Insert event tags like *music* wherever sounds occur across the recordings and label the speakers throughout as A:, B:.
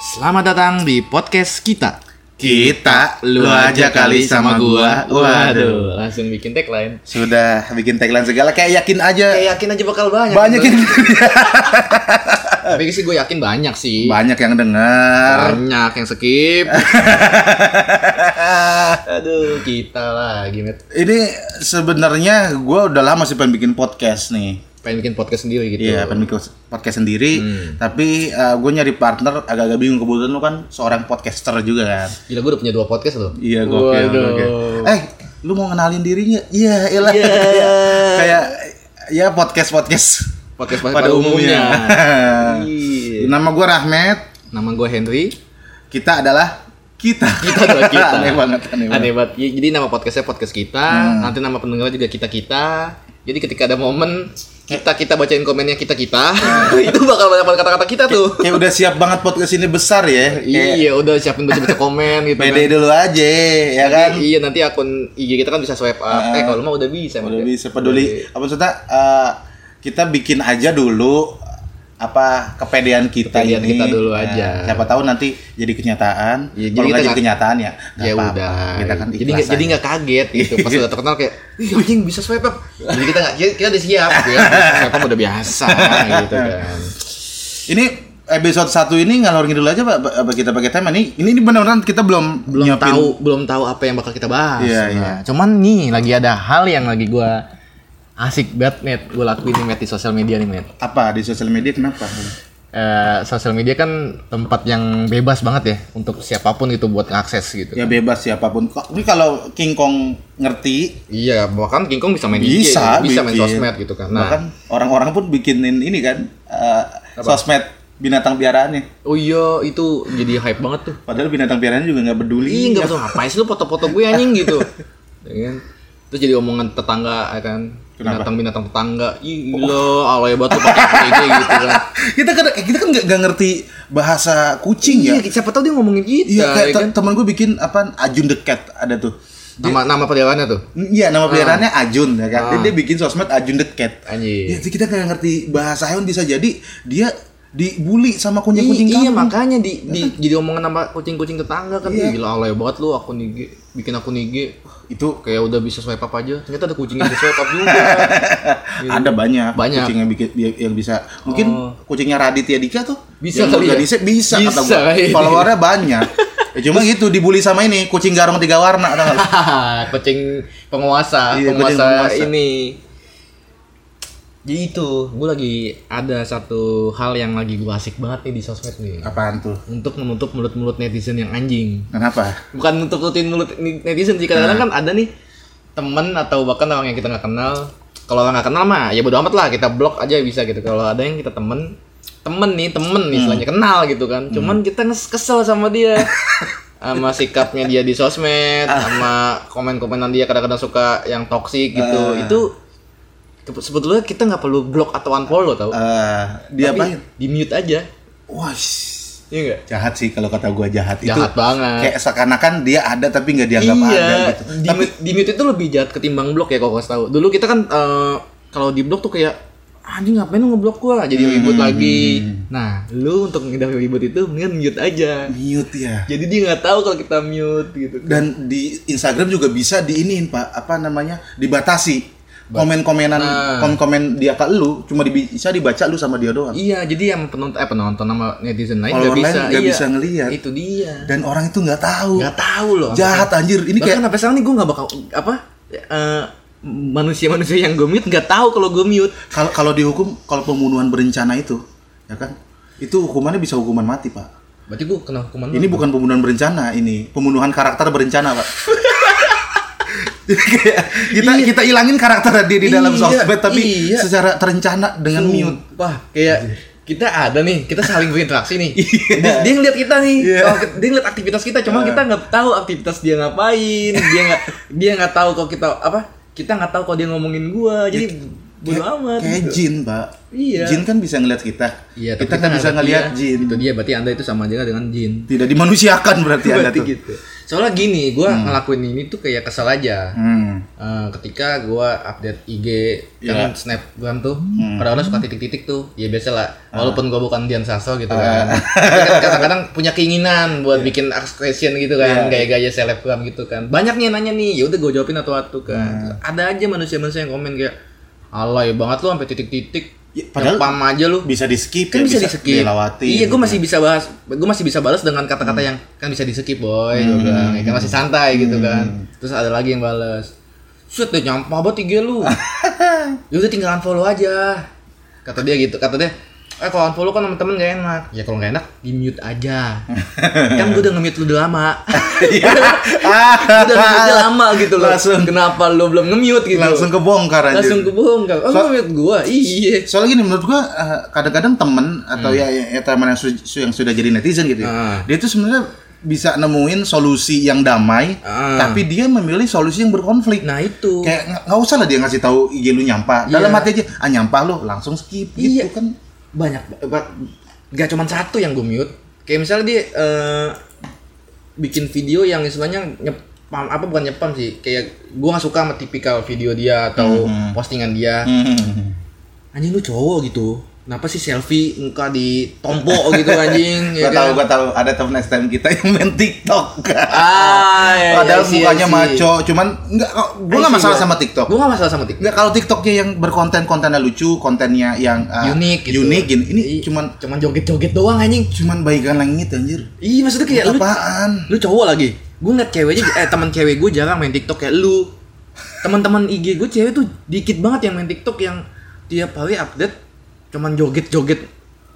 A: Selamat datang di podcast kita.
B: Kita lu aja kali sama gua. Waduh.
A: Waduh, langsung bikin tagline.
B: Sudah bikin tagline segala kayak yakin aja.
C: Kayak Eh, yakin aja bakal banyak.
B: banyak yang
A: Tapi sih gue yakin banyak sih.
B: banyak yang dengar.
A: Banyak yang
C: *laughs*
A: skip. Aduh, kita lagi met.
B: Ini sebenarnya gua udah lama sih pengen bikin podcast nih.
A: Pengen bikin podcast sendiri gitu.
B: Iya, Hmm. pengen bikin podcast sendiri. Tapi gue nyari partner agak-agak bingung kebetulan lu kan seorang podcaster juga kan.
A: Gila, gue udah punya dua podcast loh.
B: Iya, gokil,
A: Waduh.
B: gokil. Eh, lu mau kenalin dirinya? Iya, iyalah. *laughs* Kayak ya podcast-podcast *laughs*
A: Podcast
B: pada, umumnya.
A: Iya.
B: Nama gua Rahmat.
A: Nama gue Henry.
B: Kita adalah kita.
A: *laughs* Kita adalah kita.
B: *laughs* aneh banget, aneh banget. Hmm.
A: Aneh banget. Ya, Jadi nama podcastnya podcast kita. Nanti nama pendengarnya juga kita kita. Jadi ketika ada momen kita kita bacain komennya kita kita,
B: Hmm.
A: *laughs* itu bakal banyak banget kata-kata kita tuh.
B: Kayak udah siap banget podcast ini besar ya. Kayak
A: Iya, udah siapin baca-baca komen gitu
B: PD
A: kan.
B: dulu aja, ya kan? Hmm.
A: Iya, nanti akun IG kita kan bisa swipe up. eh, kalau lu mah udah bisa.
B: Udah
A: Mas.
B: bisa peduli. Apa maksudnya? eh, kita bikin aja dulu apa kepedean kita
A: Kepedean
B: ini.
A: kita dulu
B: Nah,
A: aja.
B: siapa tahu nanti jadi kenyataan.
A: Iya, jadi kita
B: Kalau nggak jadi
A: nggak-
B: kenyataan ya, nggak
A: ya
B: apa-apa.
A: udah
B: Kita kan
A: jadi
B: ikhlas
A: nggak- jadi
B: aja.
A: nggak kaget gitu pas udah terkenal kayak Ih, anjing bisa swipe up jadi kita nggak kita, kita udah siap gitu ya swipe up udah biasa gitu kan
B: Ini episode satu ini ngalor ngidul aja Pak Pak- Pak, kita pakai tema nih. Ini ini benar-benar kita belum
A: belum
B: nyiapin.
A: tahu belum tahu apa yang bakal kita bahas
B: Iya,
A: Nah,
B: iya.
A: cuman nih lagi ada hal yang lagi gua asik banget net gue lakuin nih Matt, di sosial media nih net
B: apa di sosial media kenapa?
A: Eh, sosial media kan tempat yang bebas banget ya untuk siapapun gitu buat akses gitu
B: Ya bebas siapapun. Kok- Tapi kalau King Kong ngerti
A: Iya, bahkan King Kong bisa main IG,
B: bisa
A: bisa main
B: bikin.
A: sosmed gitu kan. Nah,
B: bahkan orang-orang pun bikinin ini kan eh, sosmed binatang piaraannya
A: oh iya itu jadi hype banget tuh.
B: padahal binatang piaraannya juga nggak peduli
A: Ih, enggak usah ngapain sih lu foto-foto gue anjing
B: *laughs*
A: gitu. Ya kan? Terus jadi omongan tetangga ya kan.
B: Kenapa? Oh.
A: Binatang-binatang tetangga. Ih, lo alay banget lu pakai IG gitu kan.
B: kita kan eh, kita kan nggak nggak ngerti bahasa kucing ya
A: Iya, siapa tahu dia ngomongin kita,
B: iya kayak
A: ya kan?
B: te- temen gue bikin apa Ajun the Cat ada tuh
A: Nama nama peliharaannya tuh.
B: Iya
A: Ah.
B: nama peliharaannya Ajun ya kan. Dia, dia bikin sosmed Ajun the Cat.
A: Anjir.
B: Ya, kita nggak ngerti bahasa hewan bisa jadi dia dibully sama kucing-kucing
A: Iya, iya
B: kampung.
A: makanya di,
B: *laughs*
A: di jadi omongan nama kucing-kucing tetangga kan Ih,
B: Iya.
A: gila alay banget lu akun IG bikin akun IG
B: Itu
A: kayak udah bisa swipe up aja ternyata ada kucing yang bisa swipe up juga
B: *laughs* ada banyak,
A: Gitu. Banyak. Oh.
B: kucing yang bikin yang bisa mungkin kucingnya Raditya Dika tuh
A: Bisa
B: yang
A: kali ya?
B: organisir, bisa,
A: Bisa
B: kata gua.
A: kali.
B: followernya
A: *laughs*
B: banyak ya, cuma gitu dibully sama ini kucing garong tiga warna tau nggak lu?
A: Hahaha, kucing penguasa
B: Iya, kucing
A: penguasa
B: penguasa.
A: ini jadi itu gue lagi ada satu hal yang lagi gue asik banget nih di sosmed nih
B: apaan tuh
A: untuk menutup mulut-mulut netizen yang anjing
B: kenapa
A: bukan nutup nutupin mulut ni- netizen sih kadang-kadang kan ada nih temen atau bahkan orang yang kita nggak kenal kalau orang nggak kenal mah ya bodo amat lah kita blok aja bisa gitu kalau ada yang kita temen temen nih temen nih istilahnya kenal gitu kan cuman kita nges- kesel sama dia sama sikapnya dia di sosmed sama komen-komenan dia kadang-kadang suka yang toksik gitu itu ke- sebetulnya kita nggak perlu blok atau unfollow tau
B: Eh, dia
A: Tapi
B: apa
A: di mute aja
B: wah
A: iya nggak
B: jahat sih kalau kata gua jahat,
A: Jahat
B: itu
A: banget.
B: kayak seakan-akan dia ada tapi nggak dianggap
A: iya,
B: ada gitu
A: Di,
B: tapi
A: di mute itu lebih jahat ketimbang blok ya kalau kasih tahu. Dulu kita kan eh, kalau di blok tuh kayak "Ah, anjing ngapain lu ngeblok gua jadi
B: Hmm.
A: ribut lagi. Nah, lu untuk menghindari ribut itu mendingan mute aja.
B: mute ya
A: Jadi dia nggak tahu kalau kita mute gitu.
B: dan di Instagram juga bisa diinin pak apa namanya dibatasi komen-komenan
A: Nah.
B: komen-komen dia ke lu cuma dibi- bisa dibaca lu sama dia doang
A: Iya, jadi yang penonton eh penonton sama netizen lain nggak
B: Kalau orang
A: bisa,
B: lain nggak
A: iya.
B: bisa ngelihat.
A: Itu dia.
B: dan orang itu nggak tahu
A: Nggak tahu loh.
B: jahat anjir
A: Ini
B: ini kayak
A: Bahkan sampai sekarang nih gue nggak bakal apa eh, manusia-manusia yang gue mute nggak tahu kalau gue mute.
B: kalau kalau dihukum kalau pembunuhan berencana itu ya kan itu hukumannya bisa hukuman mati pak
A: Berarti gue kena hukuman.
B: ini bukan pembunuhan berencana ini pembunuhan karakter berencana
A: *laughs*
B: pak Jadi kayak kita kita hilangin karakter dia di dalam
A: Iya,
B: sosmed tapi
A: iya.
B: secara terencana dengan mute
A: Wah, kayak kita ada nih, kita saling berinteraksi
B: *laughs*
A: nih.
B: Iya.
A: Dia, dia ngeliat kita nih, kalau kita- dia ngeliat aktivitas kita, cuma kita nggak tahu aktivitas dia
B: *laughs*
A: ngapain. Dia nggak, dia nggak tahu kalau kita apa? Kita nggak tahu kalau dia ngomongin gua. Jadi bodo amat
B: Iya. kayak
A: gitu.
B: jin pak
A: Iya.
B: jin kan bisa ngelihat kita
A: Iya, tapi
B: kita kan bisa
A: nganggap
B: ngelihat
A: dia-
B: jin
A: Itu dia berarti Anda itu sama aja dengan jin.
B: tidak dimanusiakan berarti anda
A: Berarti
B: tuh
A: gitu. Soalnya gini, gua ngelakuin ini tuh kayak kesel aja.
B: Hmm.
A: Eh, ketika gua update IG kan snapgram tuh orang-orang suka titik-titik tuh ya biasa lah walaupun gua bukan Dian Sasso gitu kan tapi kan kadang-kadang punya keinginan buat bikin expression gitu kan kayak gaya selebgram gitu kan banyak nih yang nanya nih ya udah gua jawabin atau atu kan ada aja manusia-manusia yang komen kayak alay banget lu sampai titik-titik
B: Ya,
A: padahal
B: padahal-
A: aja lu
B: bisa di skip
A: kan bisa, di skip iya gue
B: gue
A: masih bisa bahas gue masih bisa balas dengan
B: Hmm.
A: kata-kata yang kan bisa di skip boy gitu kan Ya kan masih santai gitu kan terus ada lagi yang balas Set deh nyampah banget IG
B: *laughs*
A: lu Ya udah tinggal unfollow aja Kata dia gitu, kata dia Eh kalau unfollow kan temen-temen gak enak Ya kalau gak enak, di mute
B: *laughs*
A: aja Kan gue udah nge-mute lu udah lama
B: Ah.
A: Gua *laughs* udah nge-mute lama gitu loh
B: Iya. Langsung.
A: Kenapa lu belum nge-mute gitu
B: langsung kebongkar aja
A: Langsung kebongkar Oh
B: So-
A: nge-mute gue, iya
B: soalnya gini menurut gua eh, kadang-kadang temen atau ya, ya, ya teman yang, su- su- yang sudah jadi netizen gitu ya,
A: Hmm. Ah.
B: dia tuh sebenarnya bisa nemuin solusi yang damai
A: Ah.
B: tapi dia memilih solusi yang berkonflik
A: Nah itu
B: kayak nggak- nggak usah lah dia ngasih tahu IG lu
A: Iya.
B: nyampah dalam hati aja ah nyampah lu langsung skip gitu
A: Iya.
B: kan
A: banyak banget gak cuman satu yang gue mute kayak misalnya dia eh, bikin video yang istilahnya nyepam apa bukan nyepam sih kayak gue gak suka sama tipikal video dia atau
B: Mm-hmm.
A: postingan dia Hmm. anjing lu cowok gitu kenapa sih selfie muka di tompo gitu
B: *laughs*
A: anjing
B: Gua tahu gua tahu ada temen STM kita yang main
A: *laughs*
B: TikTok
A: ah ya,
B: padahal mukanya maco cuman nggak gua
A: Eh, Iya,
B: nggak masalah sama TikTok
A: gue gak masalah sama TikTok
B: Nggak, kalau TikToknya yang berkonten kontennya lucu, kontennya yang uh,
A: unik gitu.
B: unik gini. Ini
A: Iya,
B: cuman
A: cuman joget-joget doang anjing
B: cuman baikan langit anjir.
A: Iya maksudnya kayak lu,
B: Apaan?
A: lu cowok lagi. Gue ngeliat ceweknya, eh teman cewek gue jarang main TikTok kayak lu. Teman-teman IG gue cewek tuh dikit banget yang main TikTok yang tiap hari update cuman joget-joget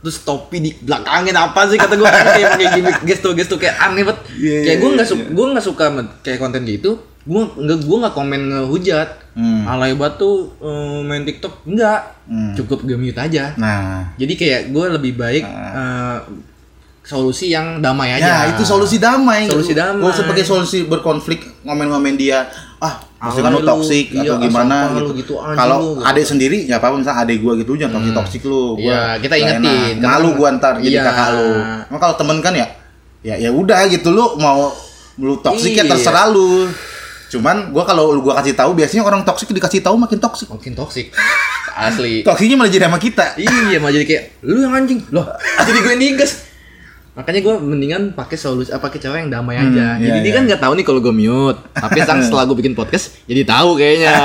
A: terus topi di belakangin apa sih kata gue kayak kayak gimmick gesto-gesto kayak aneh banget.
B: Iya,
A: kayak
B: iya,
A: gue nggak
B: iya,
A: suka gue nggak suka sama kayak konten gitu. Gue nggak gue nggak komen ngehujat.
B: Hmm.
A: Alay banget tuh eh, main TikTok enggak.
B: Hmm.
A: Cukup gue mute aja.
B: Nah,
A: Jadi kayak gue lebih baik eh, solusi yang damai aja.
B: Ah. ya itu solusi damai.
A: Solusi damai.
B: Gak usah pakai solusi berkonflik ngomen-ngomen dia. Ah, pasti kan
A: Alay
B: lu
A: lu,
B: toksik
A: iya,
B: atau
A: ah,
B: gimana
A: sampah lu
B: gitu.
A: gitu, anjing lu,
B: Kalau
A: gitu. Hmm.
B: adek sendiri nggak apa-apa misalnya adek gua gitu jangan toksik-toksik lu. Gua
A: Iya, kita
B: nggak
A: ingetin.
B: enak. Malu gua ntar jadi
A: Iya.
B: kakak lu. Emang kalau temen kan ya ya ya udah gitu lu mau lu toksik ya
A: Iya.
B: terserah lu. Cuman gua kalau lu gua kasih tahu biasanya orang toksik dikasih tahu makin toksik.
A: Mungkin toksik. *laughs* Asli.
B: Toksiknya malah jadi sama kita.
A: iya, mah jadi kayak lu yang anjing. Loh, *laughs* jadi gue yang diinges. Makanya gue mendingan pakai solusi apa pakai cara yang damai aja.
B: iya,
A: jadi dia
B: iya.
A: kan nggak tahu nih kalau gue mute.
B: *laughs*
A: Tapi sekarang setelah gue bikin podcast, jadi tahu kayaknya.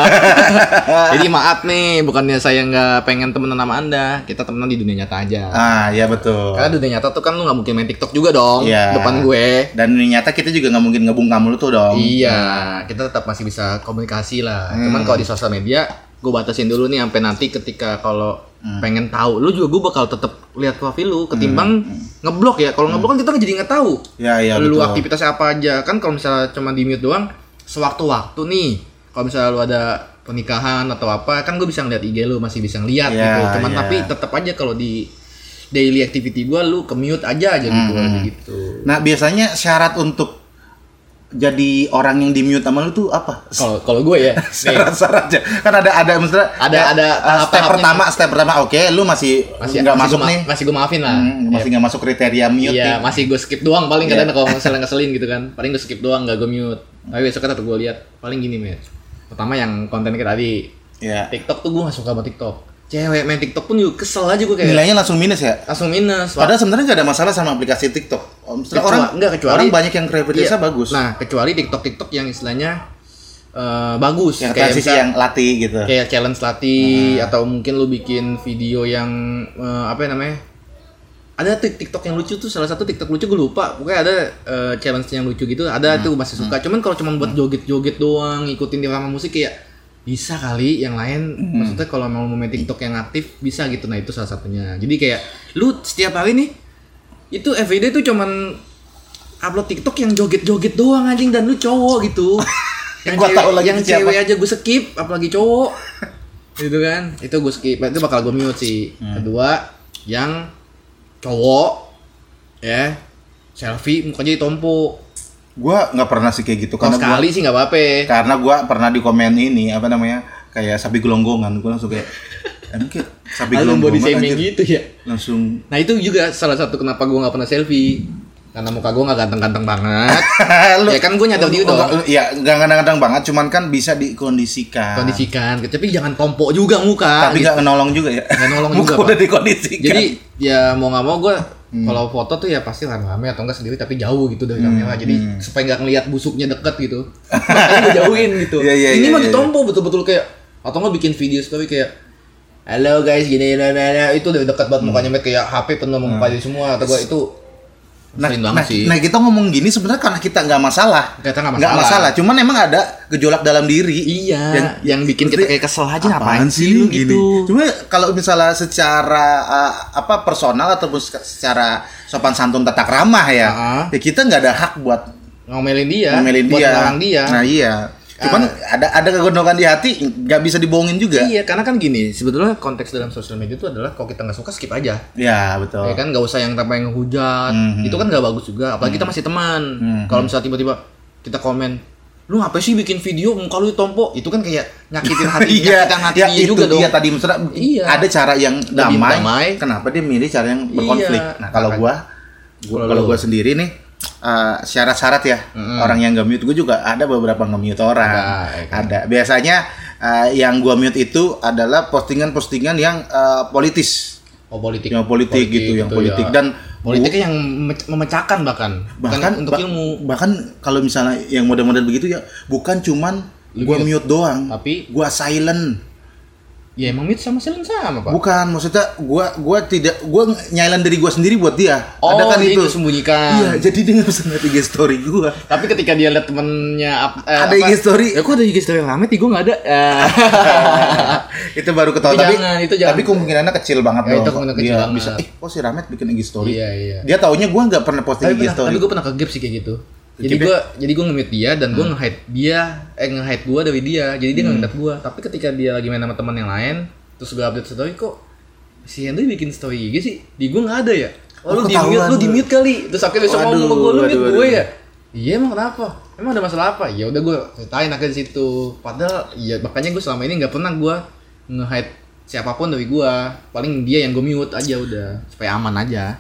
A: jadi maaf nih, bukannya saya nggak pengen temenan sama anda. Kita temenan di dunia nyata aja.
B: Ah, ya betul.
A: Karena dunia nyata tuh kan lu nggak mungkin main TikTok juga dong.
B: Iya.
A: Depan gue.
B: Dan nyata kita juga nggak mungkin ngebungkam lu tuh dong.
A: Iya, kita tetap masih bisa komunikasi lah.
B: Hmm.
A: Cuman kalau di sosial media, gue batasin dulu nih sampai nanti ketika kalau
B: Hmm.
A: pengen tahu, lu juga gue bakal tetap lihat profil lu ketimbang ngeblok ya. Kalau ngeblok kan kita jadi nggak tahu.
B: Ya, Hmm. ya,
A: lu
B: betul.
A: aktivitasnya apa aja kan kalau misalnya cuma di mute doang sewaktu-waktu nih. Kalau misalnya lu ada pernikahan atau apa, kan gue bisa ngeliat IG lu masih bisa ngeliat
B: Ya,
A: gitu. Cuman
B: ya.
A: tapi tetap aja kalau di daily activity gue, lu ke mute aja jadi
B: Hmm.
A: gue gitu.
B: Nah, biasanya syarat untuk jadi orang yang di mute sama lu tuh apa?
A: Kalau kalau gue
B: *laughs*
A: ya, nih,
B: Syarat-syaratnya. Kan ada ada maksudnya
A: Ada-
B: ya,
A: ada
B: uh, step
A: tahap-tahapnya.
B: pertama, step pertama oke, lu masih
A: masih
B: nggak
A: masih
B: masuk
A: gua ma-
B: nih.
A: masih gue maafin lah
B: Hmm, masih nggak masuk kriteria mute
A: iya
B: nih. Iya.
A: masih gue skip doang paling kadang
B: *laughs*
A: kalau misalnya ngeselin gitu kan paling gue skip doang gak gue mute tapi besoknya tetap gue lihat paling gini men pertama yang konten kita tadi
B: Iya.
A: TikTok tuh gue gak suka sama TikTok cewek main TikTok pun juga kesel aja gue kayak
B: Nilainya langsung minus ya.
A: langsung minus Wah,
B: Padahal sebenarnya nggak ada masalah sama aplikasi TikTok. Om, Maksudnya
A: Kecuali-
B: orang
A: nggak, kecuali-
B: orang banyak yang
A: iya.
B: kreativitasnya bagus.
A: nah kecuali TikTok TikTok yang istilahnya eh, bagus
B: yang
A: kayak
B: transisi
A: misal- Iya.
B: yang latih gitu.
A: kayak challenge latih atau mungkin lu bikin video yang eh, apa ya namanya ada tuh TikTok yang lucu tuh salah satu TikTok lucu gue lupa pokoknya ada eh, challenge yang lucu gitu ada tuh masih suka cuman kalau cuman buat joget-joget doang ngikutin irama musik kayak bisa kali yang lain maksudnya kalau mau main TikTok yang aktif bisa gitu nah itu salah satunya jadi kayak lu setiap hari nih itu everyday tuh cuman upload TikTok yang joget-joget doang anjing dan lu cowok
B: *laughs*
A: gitu. yang
B: Gua
A: cewek,
B: tahu lagi
A: yang
B: itu siapa.
A: cewek aja gue skip, apalagi
B: *laughs*
A: cowok. gitu kan? Itu gue skip, itu bakal gue mute sih.
B: Hmm.
A: Kedua, yang cowok ya selfie mukanya ditompo.
B: Gua nggak pernah sih kayak gitu
A: Kalau
B: karena gua-
A: Oh, sekali sih nggak apa-apa.
B: karena gua pernah di komen ini apa namanya kayak sapi gelonggongan gue langsung kayak emang kayak
A: Lalu
B: sapi
A: body
B: gelonggongan
A: shaming
B: anjir.
A: gitu ya.
B: langsung
A: Nah itu juga salah satu kenapa gue nggak pernah selfie karena muka gue nggak ganteng-ganteng
B: *laughs*
A: banget. ya kan gue nyadar diri dong.
B: Iya, nggak kadang-kadang banget, cuman kan bisa dikondisikan.
A: Kondisikan, tapi jangan tompo juga muka. gitu.
B: Tapi nggak nolong juga ya.
A: Nggak nolong
B: *laughs* Muka
A: juga, Pak.
B: Udah dikondisikan.
A: Jadi
B: Kan?
A: ya mau nggak mau gue
B: Hmm.
A: kalau foto tuh ya pasti rame-rame atau enggak sendiri tapi jauh gitu dari kamera. Jadi
B: Hmm.
A: supaya nggak ngelihat busuknya deket
B: *laughs*
A: gitu. Makanya gue jauhin gitu.
B: Iya, iya,
A: Ini
B: iya,
A: mah
B: iya,
A: ditompo betul-betul kayak atau nggak bikin video story kayak Halo guys, gini, gini, gini, gini." itu dari dekat
B: Hmm.
A: banget mukanya Matt. kayak HP penuh mukanya semua atau gue itu
B: nah,
A: sering
B: nah, nah, kita ngomong gini sebenarnya karena kita nggak masalah.
A: Kita nggak
B: Nggak
A: masalah.
B: masalah. Cuman emang ada gejolak dalam diri.
A: Iya, yang,
B: Yang,
A: bikin kita kayak kesel aja
B: apaan
A: ngapain
B: sih
A: sih lu
B: lu gini?
A: gitu.
B: Cuma kalau misalnya secara uh, apa personal ataupun se- secara sopan santun tata ramah ya,
A: Ah.
B: ya kita nggak ada hak buat
A: Ngomelin dia,
B: ngomelin
A: Iya, buat
B: dia.
A: ngelarang dia. Ah.
B: Nah iya. Cuman ada ada kegondokan di hati nggak bisa dibohongin juga.
A: Iya, karena kan gini, sebetulnya konteks dalam sosial media itu adalah kalau kita nggak suka skip aja.
B: Ya betul.
A: Ya
B: Mhm.
A: kan nggak usah yang tanpa yang ngehujat. Itu kan nggak bagus juga, apalagi kita masih teman. Kalau misalnya tiba-tiba kita komen, "Lu apa sih bikin video muka lu tompo?" Itu kan kayak nyakitin hati
B: *laughs* Iya,
A: nyakitin hati
B: ya,
A: dia
B: itu
A: juga dong.
B: dia tadi maksudnya
A: Iya.
B: ada cara yang damai,
A: damai.
B: Kenapa dia milih cara yang berkonflik?
A: Iya.
B: Nah, kalau gua, gua-
A: Kalau
B: kalau
A: lu?
B: gua sendiri nih eh, syarat-syarat ya orang yang nggak mute gua juga ada beberapa nggak mute orang.
A: Ada, ya kan?
B: Ada. Biasanya eh, yang gua mute itu adalah postingan-postingan yang eh, politis,
A: Oh, politik.
B: yang politik, gitu, yang
A: ya.
B: politik dan
A: politiknya yang meme- memecahkan bahkan.
B: bahkan
A: Bukan untuk
B: bah-
A: ilmu.
B: bahkan kalau misalnya yang model-model begitu ya bukan cuman gua mute doang,
A: Tapi-
B: gua silent.
A: Ya emang itu sama silent sama, Pak.
B: Bukan, maksudnya gua gua tidak gua nyailan diri gua sendiri buat dia.
A: Oh,
B: Ada kan
A: jadi
B: itu.
A: itu sembunyikan.
B: Iya, jadi dia nggak bisa ngeliat IG story
A: *laughs*
B: gua. *laughs*
A: Tapi ketika dia lihat temennya up- eh,
B: Ada IG story.
A: Ya kok ada IG story rame sih gue gak
B: *laughs*
A: ada. Eh,
B: itu baru ketahuan
A: Tapi
B: tapi
A: jangan, itu jangan.
B: tapi kemungkinannya kecil banget
A: Ya,
B: dong.
A: itu kemungkinan kecil
B: Dia
A: banget.
B: bisa eh kok si Ramet bikin IG story.
A: Iya iya.
B: Dia taunya gua nggak pernah posting
A: Tapi
B: IG
A: pernah,
B: story.
A: tapi gue pernah kegap sih kayak gitu. Jadi
B: Kegap ya? Hmm.
A: gue jadi gue nge-mute dia dan gue nge-hide dia eh nge-hide gue dari dia. Jadi dia nggak ngeliat gue. Tapi ketika dia lagi main sama teman yang lain, terus gue update story kok si Henry bikin story IG sih. Di gue nggak ada ya. Oh, lu
B: Oh,
A: di mute,
B: ketahuan
A: lu di
B: lu.
A: mute kali. Terus akhirnya besok
B: Waduh,
A: ngomong sama gue, lu
B: waduh,
A: mute
B: waduh.
A: gue ya. Iya emang kenapa? Emang ada masalah apa? Ya udah gue ceritain akhirnya di situ. Padahal ya makanya gue selama ini nggak pernah gue nge-hide siapapun dari gue. Paling dia yang gue mute aja udah supaya aman aja.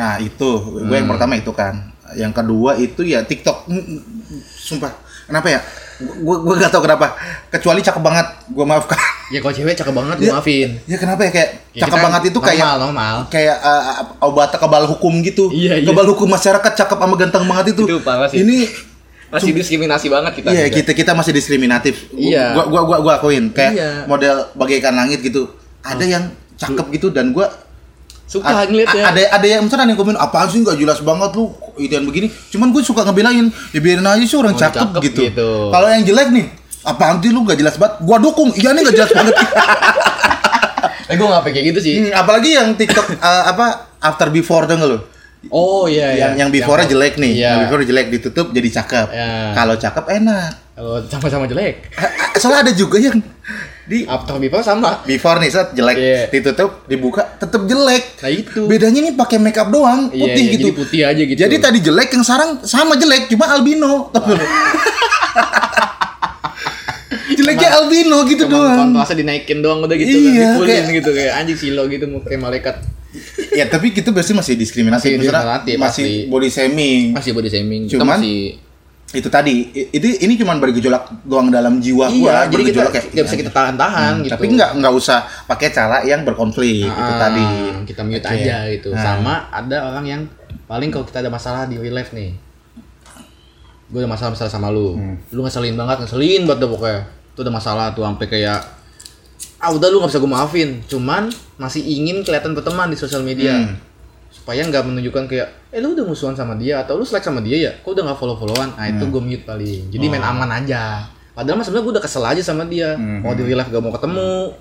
B: Nah, itu gue
A: Hmm.
B: yang pertama itu kan. Yang kedua itu ya TikTok. Mm, mm, Sumpah. Kenapa ya? Gue gue gak tau kenapa. Kecuali cakep banget, gua maafkan. *laughs*
A: Ya kalau cewek cakep banget gue maafin.
B: Ya kenapa ya kayak
A: Ya,
B: cakep
A: kita
B: banget itu kayak
A: normal normal.
B: kayak uh, obat kebal hukum gitu.
A: Iya, iya.
B: Kebal hukum masyarakat cakep sama ganteng banget itu.
A: Itu parah sih.
B: Ini
A: Masih diskriminasi banget kita.
B: iya
A: juga.
B: kita kita masih diskriminatif. Gu-
A: Iya.
B: Gua gua gua gua akuin kayak
A: Iya. Hmm.
B: model bagaikan langit gitu. Ada yang cakep gitu dan gua
A: Suka
B: a-
A: ngeliat ya.
B: a- ada ada yang misalnya ada yang komen apaan sih nggak jelas banget lu idean begini. Cuman gue suka ngebelain, ya biarin aja sih orang
A: Oh,
B: cakep,
A: cakep
B: gitu.
A: gitu.
B: Kalau yang jelek nih, apaan sih lu nggak jelas banget? Gua dukung. Iya nih nggak jelas
A: *laughs*
B: banget.
A: Eh gue nggak kayak gitu sih.
B: Hmm, apalagi yang TikTok uh, apa after before tuh nggak lu?
A: Oh iya iya.
B: Hmm. yang yang before-nya jelek nih,
A: Iya.
B: yang before jelek ditutup jadi cakep.
A: Iya.
B: Kalau cakep enak.
A: Kalau Oh, sama-sama jelek.
B: Eh, eh, Soalnya ada juga yang di
A: After before sama.
B: before nih set jelek,
A: Iya.
B: ditutup, dibuka tetap jelek.
A: Nah itu.
B: Bedanya nih pakai make up doang,
A: Iya,
B: putih
A: iya,
B: gitu.
A: jadi putih aja gitu.
B: Jadi tadi jelek yang sarang sama jelek, cuma
A: *laughs*
B: albino. Tau nggak lu? Jeleknya albino gitu
A: Cuman
B: doang.
A: kontrasnya dinaikin doang udah gitu
B: Iya,
A: kan. Dipulin
B: kayak-
A: gitu kayak anjing silo gitu kayak malaikat.
B: Ya tapi kita biasanya masih diskriminasi,
A: Masih
B: Misalnya
A: diskriminatif,
B: masih
A: pasti.
B: body shaming.
A: Masih body shaming. Kita
B: Cuman-
A: masih
B: itu tadi i- itu ini cuman bergejolak doang dalam jiwa
A: Iya,
B: gua
A: jadi kita
B: bergejolak
A: nggak bisa
B: iya,
A: kita tahan-tahan
B: iya.
A: gitu.
B: tapi nggak nggak usah pakai cara yang berkonflik itu
A: Ah,
B: tadi
A: kita mute
B: Oke.
A: aja gitu
B: Nah.
A: sama ada orang yang paling kalau kita ada masalah di real life nih gue ada masalah masalah sama lu
B: Hmm.
A: lu ngeselin banget ngeselin banget dah pokoknya itu ada masalah tuh sampai kayak ah udah lu nggak bisa gue maafin cuman masih ingin kelihatan berteman di sosial media
B: Hmm.
A: supaya nggak menunjukkan kayak eh lu udah musuhan sama dia atau lu selek sama dia ya kok udah nggak follow followan nah itu gue mute paling jadi main aman aja padahal mas sebenarnya gue udah kesel aja sama dia mau di real life gak mau ketemu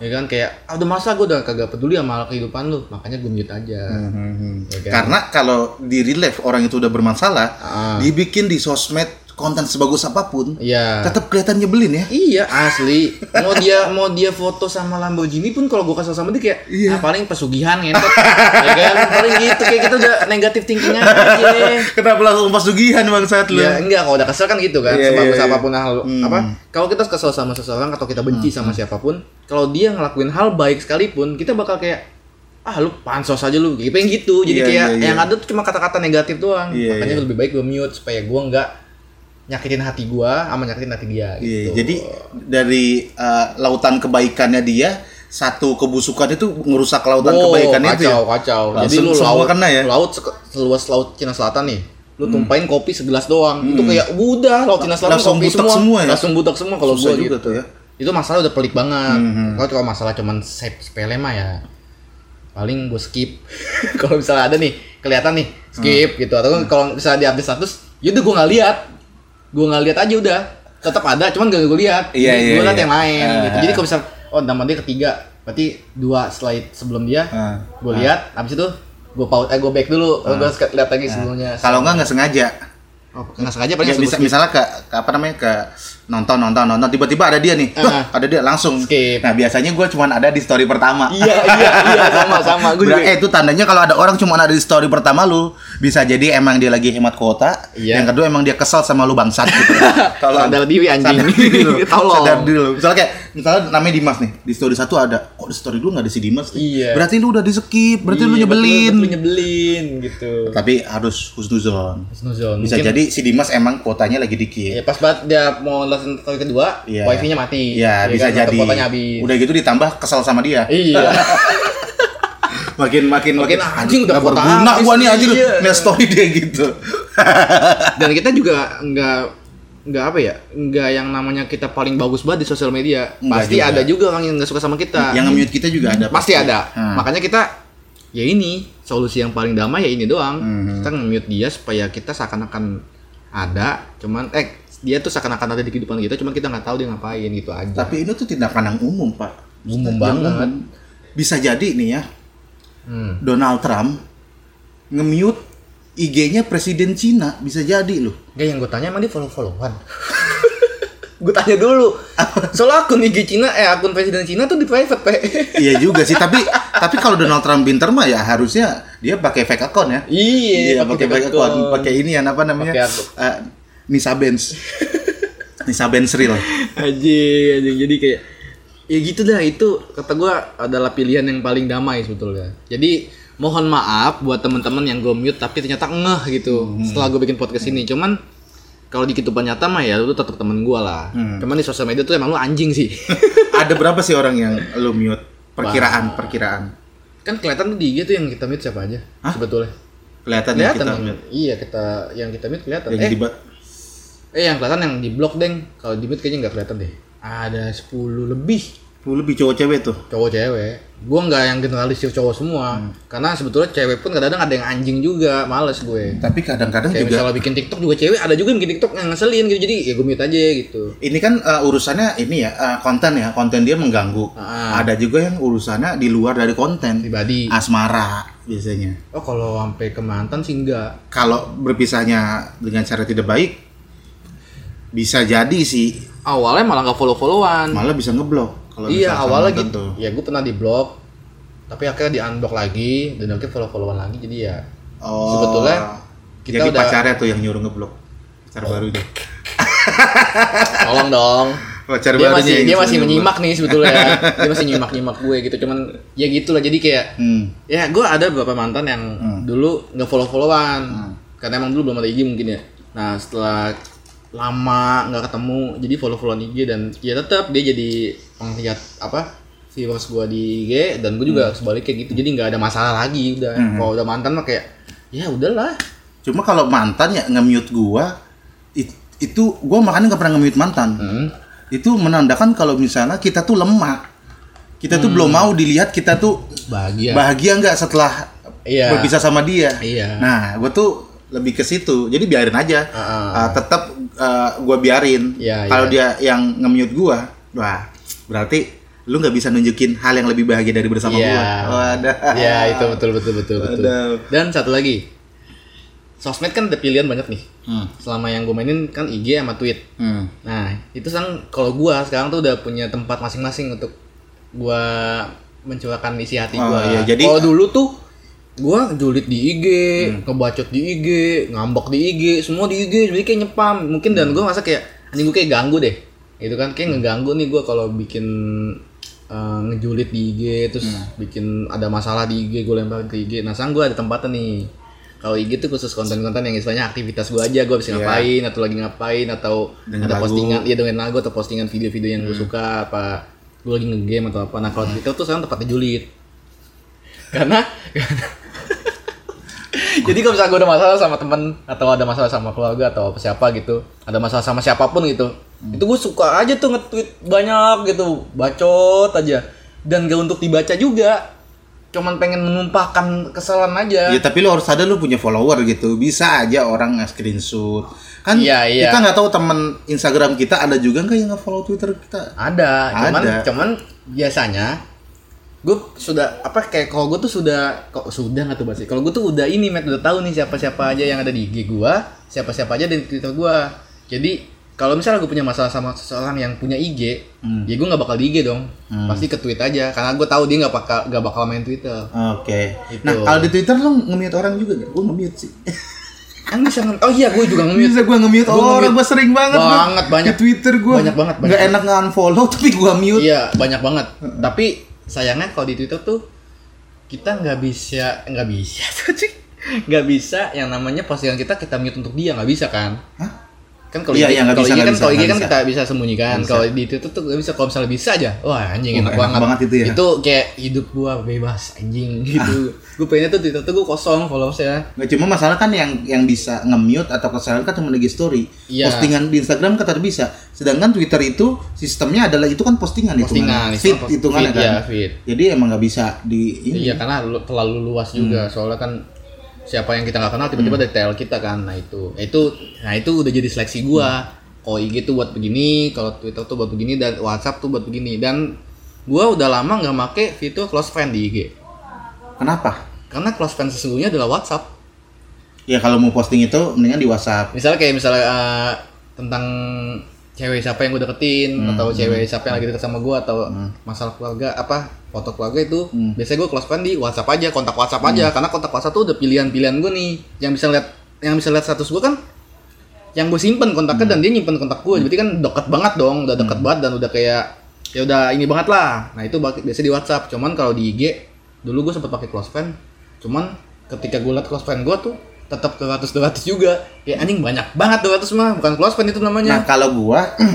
A: ya kan kayak ah, udah masa gue udah kagak peduli sama kehidupan lu makanya gue mute aja
B: Mhm.
A: Ya kan?
B: karena kalau di relief orang itu udah bermasalah
A: Ah.
B: dibikin di sosmed konten sebagus apapun,
A: Iya.
B: tetap kelihatan nyebelin ya.
A: Iya asli. Mau dia mau dia foto sama Lamborghini pun kalau gue kesel sama dia kayak "Ah,
B: Iya.
A: paling pesugihan ngentot. ya kan? Paling gitu kayak kita udah negatif thinkingnya gini.
B: Kenapa langsung pasugihan bangsat lu?
A: Ya enggak kalau udah kesel kan gitu kan.
B: Iya,
A: Sebagus
B: iya, iya.
A: apapun hal apa kalau kita kesel sama seseorang atau kita benci
B: Hmm,
A: sama siapapun, kalau dia ngelakuin hal baik sekalipun, kita bakal kayak ah lu pansos aja lu gitu pengen gitu. Jadi
B: Iya,
A: kayak
B: iya, iya.
A: yang ada tuh cuma kata-kata negatif doang.
B: Iya,
A: Makanya
B: iya.
A: lebih baik gue mute supaya gue enggak nyakitin hati gua sama nyakitin hati dia
B: Iya,
A: gitu.
B: jadi dari eh, lautan kebaikannya dia satu kebusukan itu ngerusak lautan
A: Oh,
B: kebaikan
A: kacau,
B: itu ya.
A: Kacau, Jadi
B: Langsung
A: lu
B: semua
A: laut,
B: kena ya? Hmm.
A: laut seke- seluas laut Cina Selatan nih. Lu tumpahin kopi segelas doang. Itu kayak udah laut Cina Selatan
B: Langsung
A: kopi
B: butek semua ya?
A: Langsung butek semua kalau
B: Susah
A: gua
B: juga
A: gitu.
B: tuh ya.
A: Itu masalah udah pelik banget.
B: Mhm.
A: Kalau kalau masalah cuman sep- sepele mah ya paling gue skip. *laughs* kalau misalnya ada nih kelihatan nih skip
B: Hmm.
A: gitu atau kalau misalnya di update status, yaudah gua nggak lihat. Gua nggak lihat aja udah. Tetap ada, cuman gak gue lihat.
B: Iya,
A: Jadi
B: iya,
A: gua lihat
B: iya.
A: yang lain. gitu.
B: Ah.
A: Jadi kalau misal oh nama dia ketiga, berarti dua slide sebelum dia
B: Ah.
A: gue lihat abis itu gue pause eh gue back dulu gue lihat lagi sebelumnya
B: Ah. Kalau nggak nggak sengaja.
A: oh, nggak sengaja paling
B: Ya,
A: sebelum
B: bisa,
A: skip.
B: misalnya ke, ke apa namanya ke nonton nonton nonton tiba-tiba ada dia nih
A: Ah.
B: Wah, ada dia langsung
A: Skip.
B: nah biasanya gue cuman ada di story pertama
A: *laughs* iya iya iya sama sama gue
B: Berarti eh, itu tandanya kalau ada orang cuma ada di story pertama lu bisa jadi emang dia lagi hemat kuota
A: Iya.
B: yang kedua emang dia kesel sama lu bangsat gitu
A: *laughs* Sadar diri, anjing.
B: Sadar
A: *laughs*
B: diri lu.
A: Tolong.
B: gitu. sadar diri lu. misalnya kayak misalnya namanya Dimas nih di story satu ada kok di story dulu nggak ada si Dimas nih?
A: Iya.
B: berarti lu udah di skip berarti lu nyebelin
A: lu nyebelin gitu
B: tapi harus husnuzon
A: Snuzon
B: bisa jadi si Dimas emang kuotanya lagi
A: ya
B: dikit
A: pas banget dia mau langsung kali kedua
B: Iya.
A: wifi nya mati
B: Iya, bisa
A: kan?
B: jadi.
A: Atau kuotanya habis
B: Udah gitu ditambah kesel sama dia. *laughs*
A: iya
B: Makin makin
A: Makin anjing, udah
B: nggak
A: kuota
B: berguna
A: habis
B: gua nih
A: nih,
B: anjing
A: iya. Nah.
B: liat story dia gitu.
A: dan kita juga nggak nggak apa ya nggak yang namanya kita paling bagus banget di sosial media
B: Nggak
A: pasti
B: juga.
A: ada juga orang yang nggak suka sama kita
B: Yang nge-mute kita juga ada.
A: pasti ada.
B: Hmm.
A: Makanya kita ya ini solusi yang paling damai ya ini doang.
B: Hmm.
A: Kita nge-mute dia supaya kita seakan-akan ada, cuman eh dia tuh seakan-akan ada di kehidupan kita, cuman kita nggak tahu dia ngapain gitu aja.
B: Tapi ini tuh tindakan yang umum, Pak.
A: Umum
B: Yang
A: banget.
B: Bisa jadi nih ya,
A: Hmm.
B: Donald Trump nge-mute IG-nya presiden Cina bisa jadi loh.
A: Nggak, yang gue tanya emang dia follow-followan. *laughs* gue tanya dulu. Soalnya akun IG Cina eh akun presiden Cina tuh di private, Pe.
B: iya juga sih, tapi *laughs* tapi kalau Donald Trump pinter mah ya harusnya dia pakai fake account ya.
A: iya,
B: *laughs* Iya, pakai pakai
A: akun.
B: account, pakai ini ya apa namanya?
A: Pakai akun.
B: Eh, Nisa
A: *laughs*
B: Benz. Nisa Benz real.
A: Anjing, anjing. Jadi kayak ya gitu dah itu kata gua adalah pilihan yang paling damai sebetulnya. Jadi mohon maaf buat teman-teman yang gue mute tapi ternyata ngeh gitu
B: Hmm.
A: setelah gue bikin podcast ini. Cuman kalau di kehidupan nyata mah ya lu tetap temen gua lah.
B: Hmm.
A: Cuman di sosial media tuh emang lu anjing
B: *laughs*
A: sih.
B: Ada berapa sih orang yang lo mute? Perkiraan, perkiraan.
A: kan kelihatan tuh di IG tuh yang kita mute siapa aja sebetulnya.
B: Kelihatan ya
A: Kelihatan
B: kita
A: yang-
B: mute.
A: Iya, kita yang kita mute kelihatan.
B: Yang
A: Eh,
B: tiba
A: eh yang kelihatan yang di blok, Deng. Kalau di mute kayaknya nggak kelihatan deh. Ada 10 lebih.
B: lu lebih cowok cewek tuh.
A: cowok cewek gue nggak yang generalisir cowok semua
B: Hmm.
A: karena sebetulnya cewek pun kadang-kadang ada yang anjing juga males gue
B: Tapi kadang-kadang
A: kayak
B: Hmm. juga
A: misalnya bikin tiktok juga cewek ada juga yang bikin tiktok yang ngeselin gitu jadi ya gue mute aja gitu
B: ini kan eh, urusannya ini ya eh, konten ya, konten dia mengganggu.
A: Ah.
B: Ada juga yang urusannya di luar dari konten.
A: pribadi
B: Asmara biasanya.
A: oh kalau sampai ke mantan sih enggak
B: Kalau berpisahnya dengan cara tidak baik bisa jadi sih
A: awalnya malah nggak follow followan
B: malah bisa ngeblok kalau
A: iya
B: misalkan
A: awalnya
B: nonton
A: gitu
B: tuh.
A: ya gue pernah di blog tapi akhirnya di unblock lagi dan akhirnya follow followan lagi jadi ya
B: Oh.
A: Sebetulnya kita
B: jadi
A: udah- Oh.
B: pacarnya tuh yang nyuruh ngeblok. Pacar baru deh.
A: tolong dong
B: Pacar
A: dia
B: barunya
A: masih
B: yang
A: dia
B: suruh
A: masih
B: ngeblok.
A: menyimak nih sebetulnya dia masih nyimak nyimak gue gitu cuman ya gitulah jadi kayak
B: Hmm.
A: Ya, gue ada beberapa mantan yang dulu nggak follow followan, karena emang dulu belum ada IG mungkin ya. Nah, setelah lama nggak ketemu, jadi follow followan IG dan ya tetap dia jadi penglihat apa viewers gue di IG dan gue juga sebaliknya gitu. Jadi nggak ada masalah lagi udah. Kalau udah mantan mah kayak ya udahlah.
B: Cuma kalau mantan ya nge-mute gua it- itu gua makanya nggak pernah nge-mute mantan.
A: Hmm.
B: Itu menandakan kalau misalnya kita tuh lemah. Kita tuh
A: Hmm.
B: belum mau dilihat kita tuh
A: Bahagia.
B: bahagia nggak setelah
A: Iya.
B: berpisah sama dia.
A: Iya.
B: Nah, gua tuh lebih ke situ. Jadi biarin aja.
A: Ah.
B: Eh, tetap eh, gua biarin.
A: Iya,
B: kalau dia yang nge-mute gua, wah, berarti lu nggak bisa nunjukin hal yang lebih bahagia dari bersama
A: Iya.
B: gua. Wadah.
A: ya itu betul betul betul betul.
B: Waduh.
A: Dan satu lagi sosmed kan ada pilihan banyak nih.
B: Hmm.
A: Selama yang gue mainin kan IG sama tweet.
B: Hmm.
A: Nah, itu sekarang kalau gua sekarang tuh udah punya tempat masing-masing untuk gua mencurahkan isi hati
B: Oh,
A: gua.
B: iya, Hmm. jadi-
A: kalau dulu tuh gua julid di IG, ngebacot di IG, ngambek di IG, semua di IG, jadi kayak nyepam. Mungkin dan
B: Hmm.
A: gua masa kayak anjing gua kayak ganggu deh. Gitu kan kayak ngeganggu nih gua kalau bikin eh, ngejulit di IG terus
B: Hmm.
A: bikin ada masalah di IG gua lempar ke IG. Nah, sekarang gua ada tempatnya nih. Kalau IG tuh khusus konten-konten yang istilahnya aktivitas gua aja, gua bisa ngapain atau lagi ngapain atau
B: Iya. Dengan
A: ada
B: lagu. Hmm.
A: postingan iya dengan lagu atau postingan video-video yang gue suka apa gue lagi ngegame atau apa nah kalau Twitter tuh sekarang tempatnya julid karena *laughs* jadi kalau misalnya gue ada masalah sama temen atau ada masalah sama keluarga atau siapa gitu ada masalah sama siapapun gitu itu gue suka aja tuh nge-tweet banyak gitu bacot aja dan gak untuk dibaca juga cuman pengen menumpahkan kesalahan aja
B: Ya tapi lu harus ada lu punya follower gitu. Bisa aja orang nge-screenshot. Kan
A: Iya, iya.
B: kita nggak tahu teman Instagram kita ada juga nggak yang nge-follow Twitter kita.
A: Ada, cuman
B: Ada.
A: cuman biasanya gue sudah apa kayak kalau gue tuh sudah kok sudah nggak tuh Bas? Kalau gue tuh udah ini met udah tahu nih siapa siapa aja yang ada di IG gue, siapa siapa aja di Twitter gue. Jadi kalau misalnya gue punya masalah sama seseorang yang punya IG,
B: Hmm.
A: ya gue nggak bakal di IG dong, pasti ke tweet aja karena gue tahu dia nggak bakal nggak bakal main Twitter.
B: Oke.
A: Gitu.
B: Nah, kalau di Twitter lu nge-mute orang juga nggak? Gua nge-mute sih. Eh,
A: Kan bisa nge- oh iya gue juga nge-mute.
B: Bisa gua nge-mute
A: Gua
B: orang,
A: nge-mute.
B: gua sering banget. Bang.
A: Banget, banyak.
B: Di Twitter gua.
A: Banyak banget, banyak
B: Nggak enak nge-unfollow *laughs* tapi gua mute.
A: Iya banyak banget. Tapi sayangnya kalau di Twitter tuh kita nggak bisa nggak bisa *laughs* tuh cuy. nggak bisa yang namanya postingan kita kita mute untuk dia nggak bisa kan?
B: Hah?
A: Kan kalau
B: Iya,
A: IG
B: iya, nggak
A: kalau
B: bisa,
A: IG
B: nggak
A: kan
B: bisa,
A: kalau IG
B: nggak
A: kan
B: bisa.
A: kita bisa sembunyikan.
B: Nggak bisa.
A: Kalau di Twitter tuh nggak bisa. Kalau misalnya bisa aja, wah anjing
B: Wah,
A: enak,
B: enak
A: banget.
B: banget itu ya.
A: Itu kayak hidup gua bebas anjing gitu.
B: Ah.
A: gue pengennya tuh Twitter tuh gua kosong followersnya.
B: Nggak cuma masalah kan yang yang bisa nge-mute atau kesalahan kan cuma lagi story.
A: Iya.
B: Postingan di Instagram kata bisa. Sedangkan Twitter itu sistemnya adalah itu kan postingan
A: Postingan,
B: hitungannya. Feed
A: post-
B: hitungannya
A: feed,
B: kan.
A: ya, feed.
B: Jadi emang nggak bisa di ini.
A: Iya karena lu- terlalu luas juga soalnya kan siapa yang kita nggak kenal tiba-tiba detail kita kan nah itu Nah, itu nah itu udah jadi seleksi gua kalau IG tuh buat begini kalau Twitter tuh buat begini dan WhatsApp tuh buat begini dan gua udah lama nggak make fitur close friend di IG
B: Kenapa?
A: karena close friend sesungguhnya adalah WhatsApp
B: Ya kalau mau posting itu mendingan di WhatsApp.
A: misalnya kayak misalnya eh, tentang cewek siapa yang gue deketin atau cewek siapa yang lagi deket sama gue atau masalah keluarga apa foto keluarga itu biasanya gue close friend di WhatsApp aja kontak WhatsApp aja karena kontak WhatsApp tuh udah pilihan-pilihan gue nih yang bisa lihat yang bisa lihat status gue kan yang gue simpen kontaknya dan dia nyimpen kontak gue berarti kan deket banget dong udah deket banget dan udah kayak ya udah ini banget lah nah itu bak- biasanya di WhatsApp cuman kalau di IG dulu gue sempet pakai close friend cuman ketika gue liat close friend gue tuh tetap ke 200 200 juga kayak anjing banyak banget 200 mah bukan close friend itu
B: Nah
A: namanya
B: kalau gua *clears throat* eh,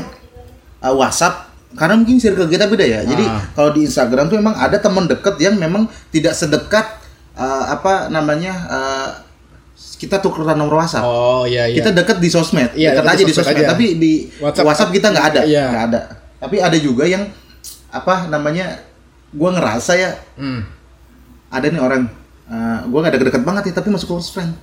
B: WhatsApp karena mungkin circle kita beda ya. Jadi
A: Ah.
B: kalau di Instagram tuh memang ada teman dekat yang memang tidak sedekat eh, apa namanya eh, kita tukeran nomor WhatsApp.
A: oh iya iya
B: Kita dekat di sosmed,
A: Iya,
B: dekat
A: dekat
B: aja
A: di
B: di
A: sosmed
B: sosmed.
A: aja.
B: Tapi di
A: WhatsApp-
B: WhatsApp, kita nggak ada,
A: Iya.
B: nggak ada. Tapi ada juga yang apa namanya gua ngerasa ya
A: Hmm.
B: ada nih orang eh, gua nggak deket-deket banget ya tapi masuk close friend.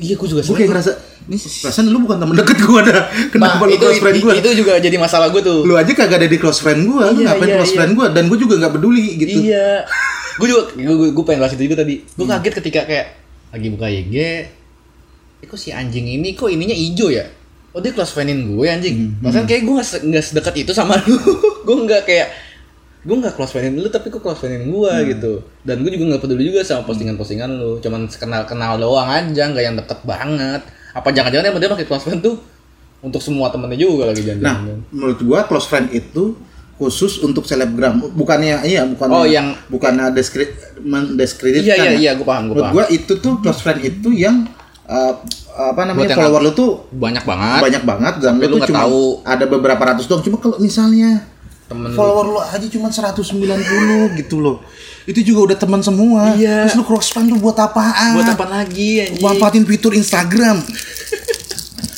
A: iya gue juga
B: Gue kayak ngerasa, ini perasaan lu bukan temen deket gue dah. Kenapa
A: Nah,
B: lu
A: itu,
B: close friend gue?
A: itu juga jadi masalah gue tuh
B: Lu aja kagak ada di close friend gue, lu
A: Iya,
B: ngapain
A: iya,
B: close
A: iya.
B: friend gue? Dan gue juga nggak peduli gitu.
A: Iya. gue juga, gue gue pengen bahas itu juga tadi. Gue
B: Hmm.
A: kaget ketika kayak lagi buka IG, eh kok si anjing ini kok ininya hijau ya? Oh dia close friendin gue
B: Hmm,
A: anjing. Bahkan kayak gue gak, se- gak sedekat itu sama *laughs* lu. gue nggak kayak gue nggak close friendin lu tapi kok close friendin gue
B: Hmm.
A: gitu. Dan gue juga nggak peduli juga sama postingan-postingan lu. Cuman kenal kenal doang aja, nggak yang deket banget. Apa jangan-jangan yang dia pakai close friend tuh untuk semua temennya juga lagi
B: Nah,
A: jangan-jangan.
B: menurut gue close friend itu khusus untuk selebgram. Bukannya iya, bukan
A: Oh, yang-
B: bukannya deskri- mendiskreditkan.
A: Iya iya
B: ya.
A: iya gue paham gue
B: Menurut
A: paham.
B: gue itu tuh close friend itu yang eh, apa
A: Buat
B: namanya
A: yang
B: follower lu tuh
A: Banyak banget.
B: banyak banget dan
A: Tapi lu
B: lu tuh
A: nggak
B: cuma
A: tahu.
B: ada beberapa ratus doang. Cuma kalau misalnya
A: Temen lu
B: follower lu aja cuma 190 gitu loh. Itu juga udah teman semua.
A: Iya.
B: Terus lu cross fan lu buat apaan?
A: buat apa lagi anjing?
B: Manfaatin fitur Instagram.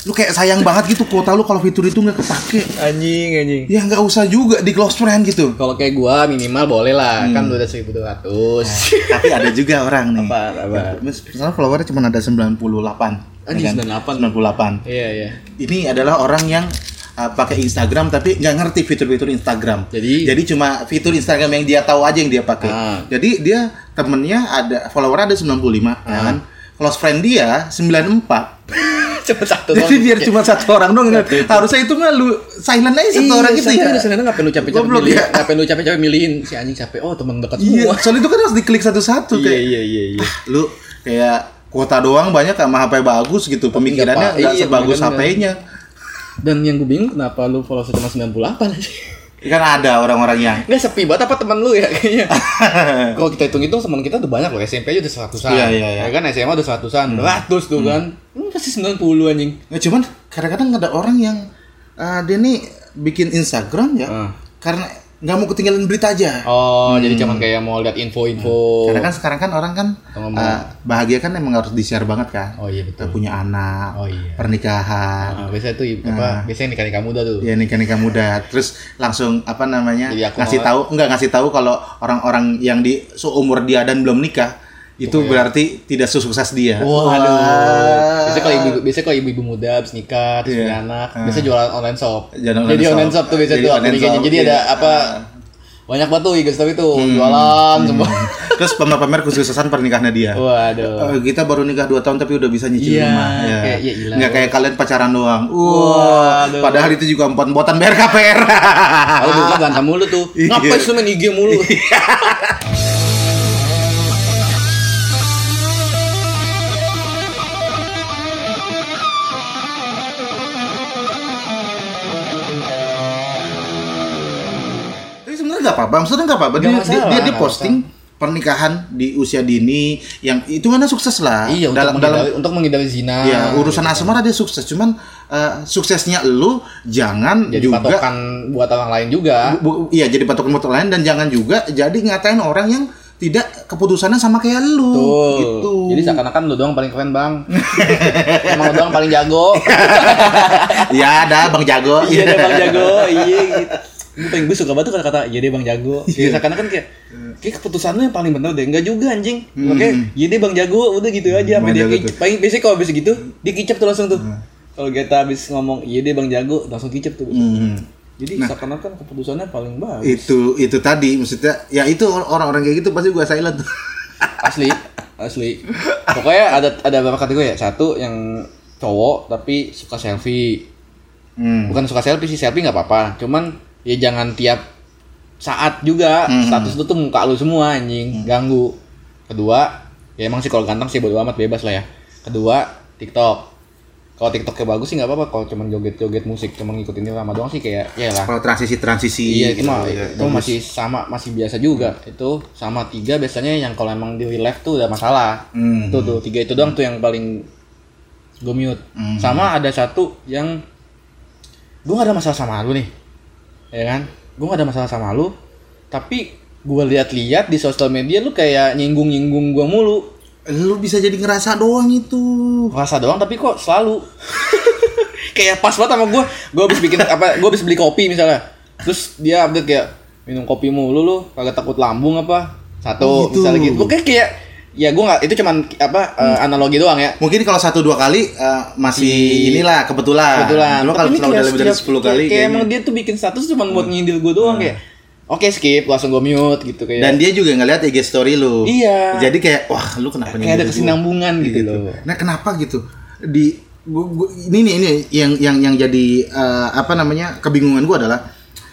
B: lu kayak sayang banget gitu kuota lu kalau fitur itu nggak kepake.
A: Anjing anjing.
B: Ya nggak usah juga di close friend gitu.
A: Kalau kayak gua minimal boleh lah,
B: Hmm.
A: kan udah
B: *laughs*
A: 1200.
B: Tapi ada juga orang nih.
A: Apaan, apaan?
B: Misalnya followernya cuma ada 98.
A: Anjing,
B: ya kan?
A: 98.
B: 98.
A: Iya *laughs* iya.
B: Ini adalah orang yang uh, pakai Instagram tapi nggak ngerti fitur-fitur Instagram.
A: Jadi-
B: jadi cuma fitur Instagram yang dia tahu aja yang dia pakai.
A: Ah.
B: Jadi dia temennya ada follower ada 95 ya kan. close friend dia 94
A: Cuma satu
B: jadi
A: doang.
B: biar cuma satu orang doang
A: Iya,
B: harusnya itu mah lu silent aja satu orang gitu ya
A: Sebenarnya ngapain lu capek-capek
B: Goblok,
A: milih?
B: ya.
A: Ngapain lu capek-capek milihin si anjing capek? Oh, teman dekat
B: iya
A: semua.
B: soalnya itu kan harus diklik satu-satu kayak "Ah,
A: iya, iya, iya.
B: lu kayak kuota doang banyak sama HP bagus gitu pemikirannya
A: nggak
B: nggak
A: pa- iya,
B: sebagus
A: bener-bener.
B: HP-nya
A: Dan yang gue bingung kenapa lu follow cuma 98 *laughs* aja.
B: kan ada orang-orang yang
A: Enggak sepi banget apa teman lu ya *laughs* kayaknya.
B: *laughs*
A: Kalau kita hitung-hitung teman kita udah banyak loh, SMP aja udah seratusan.
B: Iya, iya, iya.
A: Ya kan SMA udah seratusan, ratus tuh kan. Hmm, pasti 90 anjing.
B: ya, cuman kadang-kadang ada orang yang eh, dia nih bikin Instagram ya
A: Ah.
B: karena nggak mau ketinggalan berita aja
A: Oh, jadi cuman kayak mau lihat info-info.
B: karena kan sekarang kan orang kan
A: Atau ngomong.
B: eh, bahagia kan emang harus di-share banget kan
A: Oh iya
B: Kita
A: betul.
B: punya anak
A: Oh, iya. Nah,
B: pernikahan
A: biasanya tuh apa? Biasanya nikah nikah muda tuh.
B: ya nikah nikah muda terus langsung apa namanya
A: Jadi aku
B: ngasih
A: mau-
B: tahu enggak ngasih tahu kalau orang-orang yang di seumur dia dan belum nikah itu berarti tidak sesukses dia
A: Waduh. Biasanya kalau ibu, biasanya kalau ibu-ibu muda habis nikah, terus
B: Iya.
A: punya anak, biasanya jualan online shop.
B: Jualan online
A: jadi
B: shop.
A: online shop tuh biasanya
B: Jadi
A: tuh
B: online
A: aplikasinya.
B: shop,
A: Jadi
B: iya. Hmm.
A: ada apa? Banyak banget tuh guys tapi tuh jualan semua. *laughs*
B: terus pamer-pamer kesuksesan
A: Oh,
B: pernikahannya dia
A: Waduh.
B: Eh, kita baru nikah 2 tahun tapi udah bisa nyicil
A: Iya,
B: rumah ya.
A: kayak- ya ilah.
B: nggak kayak kalian pacaran doang wah
A: Waduh.
B: padahal itu juga empon botan bayar KPR
A: Kalau dulu kan berantem mulu tuh.
B: Ah. Iya.
A: Ngapain sih lu main IG
B: *laughs*
A: mulu?
B: *laughs* Tapi sebenarnya nggak apa-apa, maksudnya nggak apa-apa. Dia,
A: Nggak
B: dia,
A: masalah,
B: dia- dia
A: nggak
B: posting pernikahan di usia dini yang itu kan sukses lah.
A: iya, untuk
B: dalam dalam
A: menghindari, untuk menghindari zina.
B: ya urusan asmara dia sukses. Cuman eh, suksesnya lu jangan
A: jadi
B: juga
A: patokan buat orang lain juga.
B: bu- iya jadi patokan motor lain dan jangan juga jadi ngatain orang yang tidak keputusannya sama kayak lu
A: Betul.
B: gitu.
A: Jadi seakan-akan lu doang paling keren, Bang.
B: *laughs*
A: Emang lu doang paling jago.
B: Iya. ya ada Bang Jago.
A: iya deh bang jago iya gitu gue paling gue suka banget tuh kata-kata iya deh bang
B: *laughs*
A: jago Iya seakan kan kayak kayak keputusan lu yang paling bener deh enggak juga anjing oke iya deh bang jago udah gitu aja sampai
B: Hmm. Bang
A: dia
B: Jago Hmm.
A: kicep paling biasanya kalau habis gitu dia kicep tuh langsung tuh kalau kita habis ngomong iya deh bang jago langsung kicep tuh
B: *laughs* Hmm. Iya.
A: jadi seakan-akan keputusannya paling bagus
B: Itu itu tadi maksudnya ya itu orang-orang kayak gitu pasti gua
A: *laughs*
B: silent.
A: asli asli pokoknya ada ada beberapa kategori ya satu yang cowok tapi suka selfie
B: Hmm.
A: bukan suka selfie sih selfie nggak apa-apa cuman ya jangan tiap saat juga status lu tuh muka lu semua anjing ganggu kedua ya emang sih kalau ganteng sih bodo amat bebas lah ya kedua TikTok kalau TikToknya bagus sih nggak apa-apa kalau cuman joget-joget musik cuman ngikutin dia lama doang sih kayak ya lah
B: Kalau transisi-transisi
A: iya itu mah
B: ya,
A: itu masih sama masih biasa juga itu sama tiga biasanya yang kalau emang di real life tuh udah masalah
B: Hmm.
A: tuh tuh tiga itu doang tuh yang paling gue mute sama ada satu yang gue gak ada masalah sama lu nih ya kan gue gak ada masalah sama lu tapi gue lihat-lihat di sosial media lu kayak nyinggung-nyinggung gue mulu
B: lu bisa jadi ngerasa doang itu
A: rasa doang tapi kok selalu *laughs* kayak pas banget sama gue gue habis bikin apa gue habis beli kopi misalnya terus dia update kayak minum kopi mulu lu kagak takut lambung apa
B: Oh,
A: satu
B: gitu.
A: misalnya gitu Pokoknya kayak ya gue nggak itu cuman apa eh,
B: Hmm.
A: analogi doang ya
B: mungkin kalau satu dua kali eh, masih
A: Si-
B: inilah kebetulan
A: Iya. kebetulan Tapi
B: lo Ah, kalau
A: ini
B: kalau
A: kayak
B: udah lebih dari
A: setiap-
B: 10 kali Hmm.
A: kayak, kayak emang dia tuh bikin status cuma buat nyindir gue doang kayak oke skip langsung gue mute gitu kayak
B: dan dia juga ngeliat IG story lu
A: Iya.
B: jadi kayak wah lu kenapa
A: kayak ada
B: nyindir gua?
A: kesinambungan gitu, loh
B: nah kenapa gitu di gua- gua- ini nih ini yang yang yang jadi eh, apa namanya kebingungan gua adalah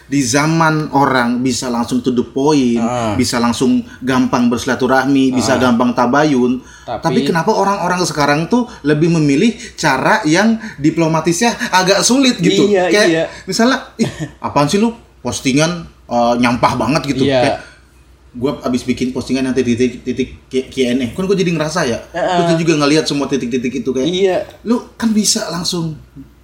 B: di zaman orang bisa langsung to the point,
A: Ah.
B: bisa langsung gampang bersilaturahmi, bisa gampang tabayun. Tapi,
A: Tapi-
B: kenapa orang-orang sekarang tuh lebih memilih cara yang diplomatisnya agak sulit gitu?
A: Iya,
B: Kayak
A: iya.
B: misalnya,
A: *laughs*
B: ih, apaan sih lu postingan eh, nyampah banget gitu?
A: Iya.
B: Kayak, gue abis bikin postingan yang titik-titik Q- Q&A kan gue jadi ngerasa ya terus dia juga ngelihat semua titik-titik itu kayak
A: iya
B: lu kan bisa langsung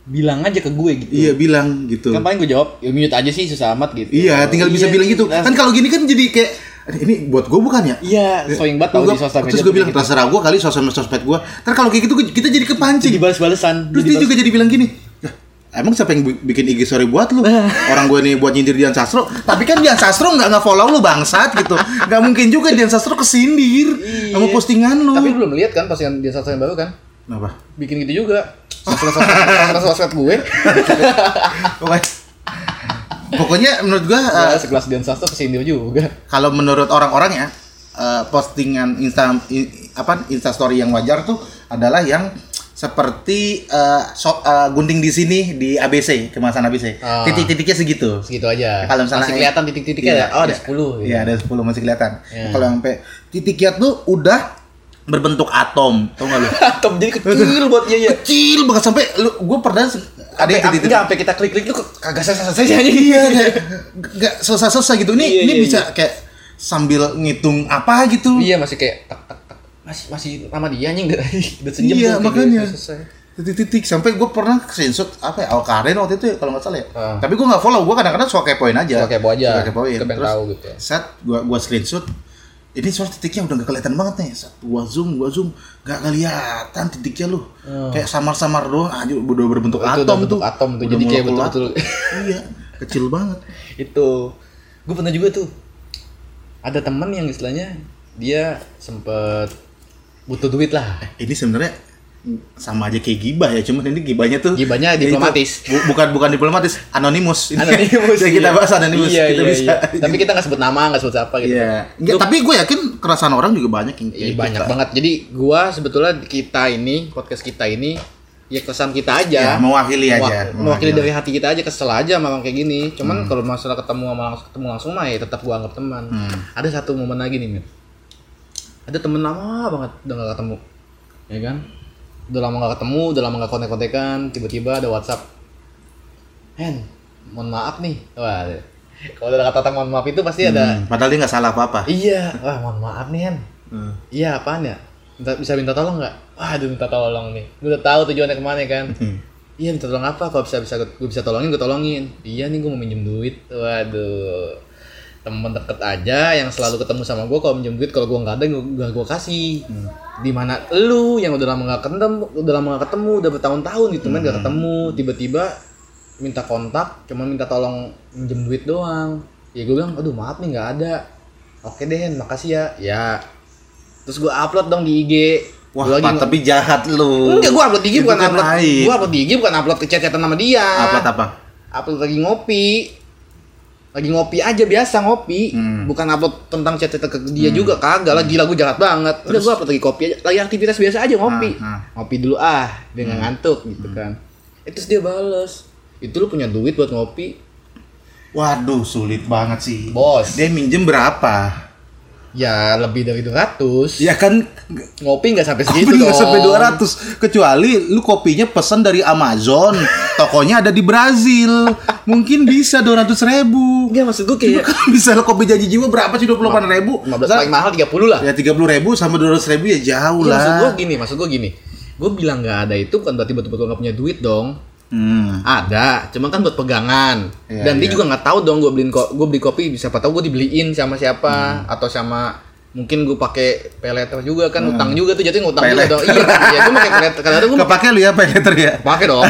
A: bilang aja ke gue gitu
B: iya bilang gitu
A: kan paling gue jawab ya mute aja sih susah amat gitu
B: iya tinggal bisa
A: Iya,
B: bilang gitu
A: nah,
B: kan kalau gini kan jadi kayak "Aduh, ini buat gue bukan ya
A: iya sering banget tau
B: Gua-
A: di sosial media
B: terus gue
A: tuh
B: bilang
A: kayak
B: terserah gue kali sosmed sosmed gue ntar kalau kayak gitu gua- kita
A: gitu. jadi
B: jadi kepancing
A: balas-balesan
B: terus
A: jadi
B: dia juga jadi bilang gini "Lah, Emang siapa yang bi- bikin IG story buat
A: *laughs*
B: lu? Orang gue nih buat nyindir Dian Sastro, tapi kan Dian Sastro nggak nge-follow lu bangsat gitu. Nggak mungkin juga Dian Sastro kesindir sama postingan lu.
A: balas- Iya. tapi lu belum lihat kan postingan dia satu yang baru kan
B: Kenapa?
A: bikin gitu juga
B: *laughs*
A: sosmed gue
B: Pokoknya, pokoknya menurut gua eh,
A: Ya, sekelas Dian Sastro kesindir juga
B: kalau menurut orang-orang ya eh, postingan insta i- apa insta story yang wajar tuh adalah yang seperti eh, so- eh, gunting di sini di ABC kemasan ABC
A: Ah.
B: titik-titiknya segitu
A: segitu gitu aja.
B: Kalau misalnya-
A: masih kelihatan titik-titiknya
B: Iya,
A: ya. Oh, ada
B: iya.
A: 10. gitu.
B: Iya ada 10 masih kelihatan.
A: Iya.
B: Kalau yang sampai titiknya tuh udah berbentuk atom, tau gak lu?
A: Top jadi kecil buat iya iya.
B: Kecil banget sampai lu gue pernah se- ada
A: Sampai
B: yang titik-titik.
A: enggak sampai kita klik-klik tuh kagak selesai-selesai aja.
B: Iya kayak gak selesai-selesai gitu. Ini
A: Iya,
B: ini
A: iya,
B: bisa kayak sambil ngitung apa gitu.
A: Iya, masih kayak tak tak tak. Masih masih sama dia anjing udah udah sejam
B: Iya,
A: tuh, kayak
B: makanya.
A: gitu, selesai.
B: Titik-titik sampai gue pernah screenshot apa ya Alkarin waktu itu ya, kalau nggak salah ya.
A: Ah.
B: Tapi gue nggak follow, gue kadang-kadang suka kepoin aja.
A: Suka kepo aja,
B: Suka kepoin.
A: kepengen
B: Terus
A: tahu gitu.
B: Set gua gua screenshot ini soal titiknya udah gak kelihatan banget nih. Set, gua zoom, gua zoom, gak kelihatan titiknya lu. Kayak samar-samar doang. Ah, ini udah berbentuk
A: Ah. Itu udah
B: atom
A: bentuk
B: tuh.
A: atom tuh,
B: Udah
A: jadi kayak
B: molekul
A: betul-betul.
B: atom. iya, kecil banget.
A: Itu. Gue pernah juga tuh. Ada teman yang istilahnya dia sempet butuh duit lah.
B: Ini sebenarnya sama aja kayak gibah ya, cuman ini gibahnya tuh
A: Gibahnya
B: ya itu,
A: diplomatis.
B: bu- bukan bukan diplomatis, anonimus. Ini
A: *laughs* Anonimus.
B: *laughs* yang kita
A: iya.
B: bahas anonimus.
A: Iya,
B: kita
A: iya,
B: bisa.
A: iya. Tapi kita nggak sebut nama, nggak sebut apa gitu.
B: Iya. Nggak, tapi gue yakin keresahan orang juga banyak
A: Iya
B: yang kayak gitu. Hmm,
A: banyak
B: kita.
A: banget. Jadi gua sebetulnya kita ini podcast kita ini ya kesan kita aja.
B: Ya, mewakili aja.
A: Mewak-
B: Mewakili. Hmm.
A: Mewakili dari hati kita aja kesel aja memang kayak gini. Cuman kalau masalah ketemu sama langsung ketemu langsung mah ya tetap gua anggap teman.
B: Hmm.
A: Ada satu momen lagi nih, Mir. Ada temen lama banget udah gak ketemu. Ya kan? Udah lama gak ketemu, udah lama gak kontek-kontekan, tiba-tiba ada WhatsApp. Hen, mohon maaf nih. Wah. *laughs* Kalau ada kata-kata mohon maaf itu pasti ada
B: Hmm, padahal dia nggak salah apa-apa.
A: Iya, wah mohon maaf nih Hen.
B: Hmm.
A: Iya apaan ya? Minta, bisa minta tolong nggak? Waduh minta tolong nih. Gue udah tahu tujuannya kemana kan.
B: Hmm.
A: Iya minta tolong apa? Kalau bisa bisa gue bisa tolongin gue tolongin. Iya nih gue mau minjem duit. Waduh temen deket aja yang selalu ketemu sama gue kalau minjem duit kalau gue nggak ada gue gak gue kasih di mana lu yang udah lama nggak ketemu udah lama nggak ketemu udah bertahun-tahun gitu men nggak ketemu tiba-tiba minta kontak cuma minta tolong minjem duit doang ya gue bilang aduh maaf nih nggak ada oke deh Hen, makasih ya ya terus gue upload dong di IG
B: Wah,
A: Gua lagi
B: Pat,
A: nge-
B: tapi jahat lu.
A: Enggak, gue upload di IG
B: Itu
A: bukan
B: kan
A: upload.
B: aib.
A: Gue upload di IG bukan upload ke chat-chatan sama dia.
B: Upload apa?
A: Upload lagi ngopi. Lagi ngopi aja biasa ngopi,
B: Hmm.
A: bukan upload tentang chat-chatan ke dia juga kagak lah gila gue jahat banget. Udah gue upload lagi kopi aja, lagi aktivitas biasa aja ngopi.
B: Ah, Hmm. ah.
A: Ngopi dulu ah, dia nggak ngantuk gitu kan. Eh, Terus dia bales, itu lu punya duit buat ngopi?
B: Waduh, sulit banget sih.
A: Bos.
B: Dia minjem berapa?
A: Ya lebih dari 200.
B: Ya kan
A: Ngopi nggak sampai segitu
B: kopi nggak
A: Gitu dong.
B: sampai 200 kecuali lu kopinya pesan dari
A: *laughs*
B: Amazon, tokonya ada di Brazil. Mungkin bisa 200 ribu. *laughs*
A: Enggak maksud gue kayak
B: bisa lu kan- kopi janji jiwa berapa sih 28 ribu?
A: 15 paling mahal 30 lah.
B: Ya 30 ribu sama 200 ribu ya jauh
A: Iya, maksud gue
B: lah.
A: gini, maksud gue gini. Gue bilang nggak ada itu bukan berarti betul-betul nggak punya duit dong.
B: Hmm.
A: Ada, cuma kan buat pegangan.
B: Iya,
A: Dan dia
B: iya.
A: juga nggak tahu dong gue beliin ko gue beli kopi siapa tahu gue dibeliin sama siapa
B: Hmm.
A: atau sama mungkin gue pakai peleter juga kan utang juga tuh jadi ngutang juga
B: Peleter.
A: dong. Iya, iya gue pakai peleter. Kadang-kadang gue
B: Kepake lu ya pay later ya.
A: pakai dong.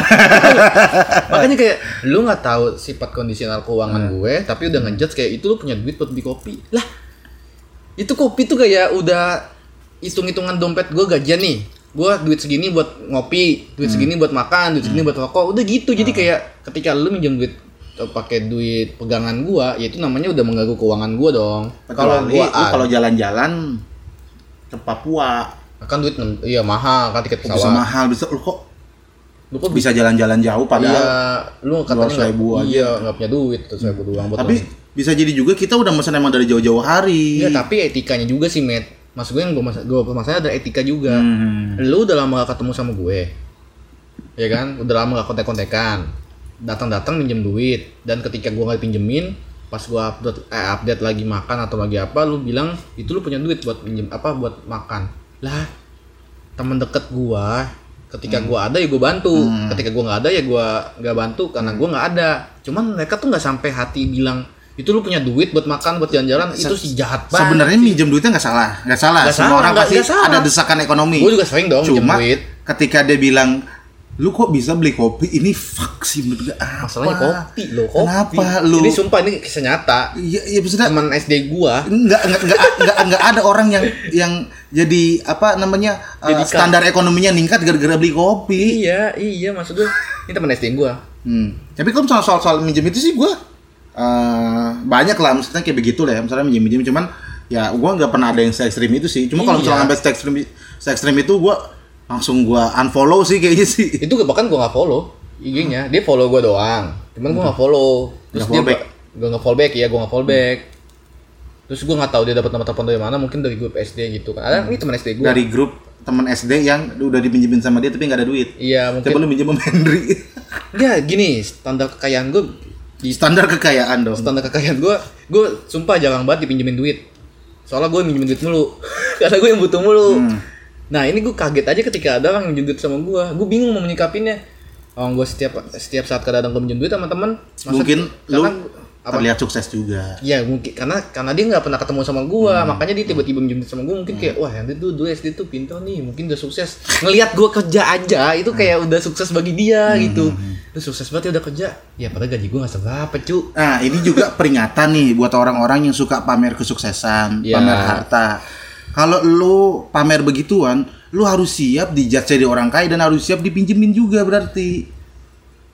A: Makanya kayak lu nggak tahu sifat kondisional keuangan gue, tapi udah ngejudge kayak itu lu punya duit buat beli kopi. Lah, itu kopi tuh kayak udah hitung-hitungan dompet gue gajian nih. Gue duit segini buat ngopi, duit segini buat makan, duit segini buat rokok. Udah gitu. Jadi kayak ketika lu minjem duit atau pakai duit pegangan gua, ya itu namanya udah mengganggu keuangan gua dong. Kalau
B: Kecuali
A: gua ah.
B: lu kalau jalan-jalan ke Papua
A: ad- kan duit nem- iya mahal kan tiket
B: bisa
A: pesawat.
B: mahal bisa lu kok
A: Lu kok
B: bisa jalan-jalan jauh
A: Iya,
B: padahal
A: lu katanya nggak-
B: 200.000 aja.
A: Iya, nggak punya duit terus saya doang buat
B: tapi bisa jadi juga kita udah mesen emang dari jauh-jauh
A: Iya,
B: hari
A: tapi etikanya juga sih, Matt. Maksud gue yang gue, mas gue permasalahan ada etika juga.
B: Hmm.
A: Lu udah lama gak ketemu sama gue. Ya kan? Udah lama gak kontek-kontekan. Datang-datang minjem duit dan ketika gue gak pinjemin, pas gue update eh, update lagi makan atau lagi apa, lu bilang itu lu punya duit buat pinjem apa buat makan. Lah, temen deket gua ketika
B: Hmm.
A: gua ada ya gua bantu ketika gua nggak ada ya gua nggak bantu karena
B: Hmm.
A: gua nggak ada cuman mereka tuh nggak sampai hati bilang itu lu punya duit buat makan buat jalan-jalan itu sih jahat banget
B: Sebenarnya minjem duitnya nggak salah, nggak salah.
A: Nggak
B: Semua
A: salah,
B: orang
A: nggak-
B: pasti
A: nggak salah.
B: ada desakan ekonomi.
A: Gua juga sering dong minjem
B: Cuma
A: duit.
B: ketika dia bilang, lu kok bisa beli kopi? Ini fuck sih menurut gue. Apa?
A: masalahnya kopi lo kopi
B: Kenapa lu?
A: ini sumpah ini kisah nyata
B: Iya, iya maksudnya
A: teman SD gua
B: nggak nggak nggak nggak nggak ada orang yang yang jadi apa namanya eh,
A: Jadi kak-
B: standar ekonominya ningkat gara-gara beli kopi.
A: iya iya maksud gua ini teman SD gua
B: Hmm. Tapi kalau misalnya soal soal minjem itu sih gue eh banyak lah maksudnya kayak begitu lah ya misalnya minjem minjem cuman ya gue nggak pernah ada yang se ekstrim itu sih cuma kalau
A: Iya.
B: misalnya sampai se ekstrim se ekstrim itu gue langsung gua unfollow sih kayaknya
A: *laughs*
B: sih
A: itu bahkan gua nggak follow IG-nya dia follow gua doang cuman gua nggak follow terus
B: Nggak
A: dia
B: follow back.
A: ba- gua nggak follow back ya gua nggak follow back terus gua nggak tahu dia dapat nomor telepon dari mana mungkin dari grup SD gitu kan ada ini teman SD gua
B: dari grup teman SD yang udah dipinjemin sama dia tapi nggak ada duit
A: iya
B: coba
A: mungkin
B: lu minjem sama
A: *laughs*
B: Henry
A: ya gini standar kekayaan gua di
B: standar kekayaan dong
A: standar kekayaan gua gua sumpah jarang banget dipinjemin duit soalnya gua minjemin duit mulu *laughs* karena gua yang butuh mulu nah ini gua kaget aja ketika ada orang yang minjem duit sama gua gua bingung mau menyikapinya orang gua setiap setiap saat kadang-kadang gua minjem duit sama temen masa-
B: mungkin lu
A: karena apa
B: terlihat sukses juga
A: ya mungkin karena karena dia nggak pernah ketemu sama gua makanya dia tiba-tiba minjem duit sama gua mungkin kayak wah Henry tuh dulu SD tuh pintar nih mungkin udah sukses ngelihat gua kerja aja itu kayak udah sukses bagi dia gitu lu sukses banget ya udah kerja ya padahal gaji gua nggak seberapa cu
B: Nah, ini juga peringatan nih buat orang-orang yang suka pamer kesuksesan,
A: Ya.
B: pamer harta. Kalau lu pamer begituan, lu harus siap dijudge dari orang kaya dan harus siap dipinjemin juga berarti.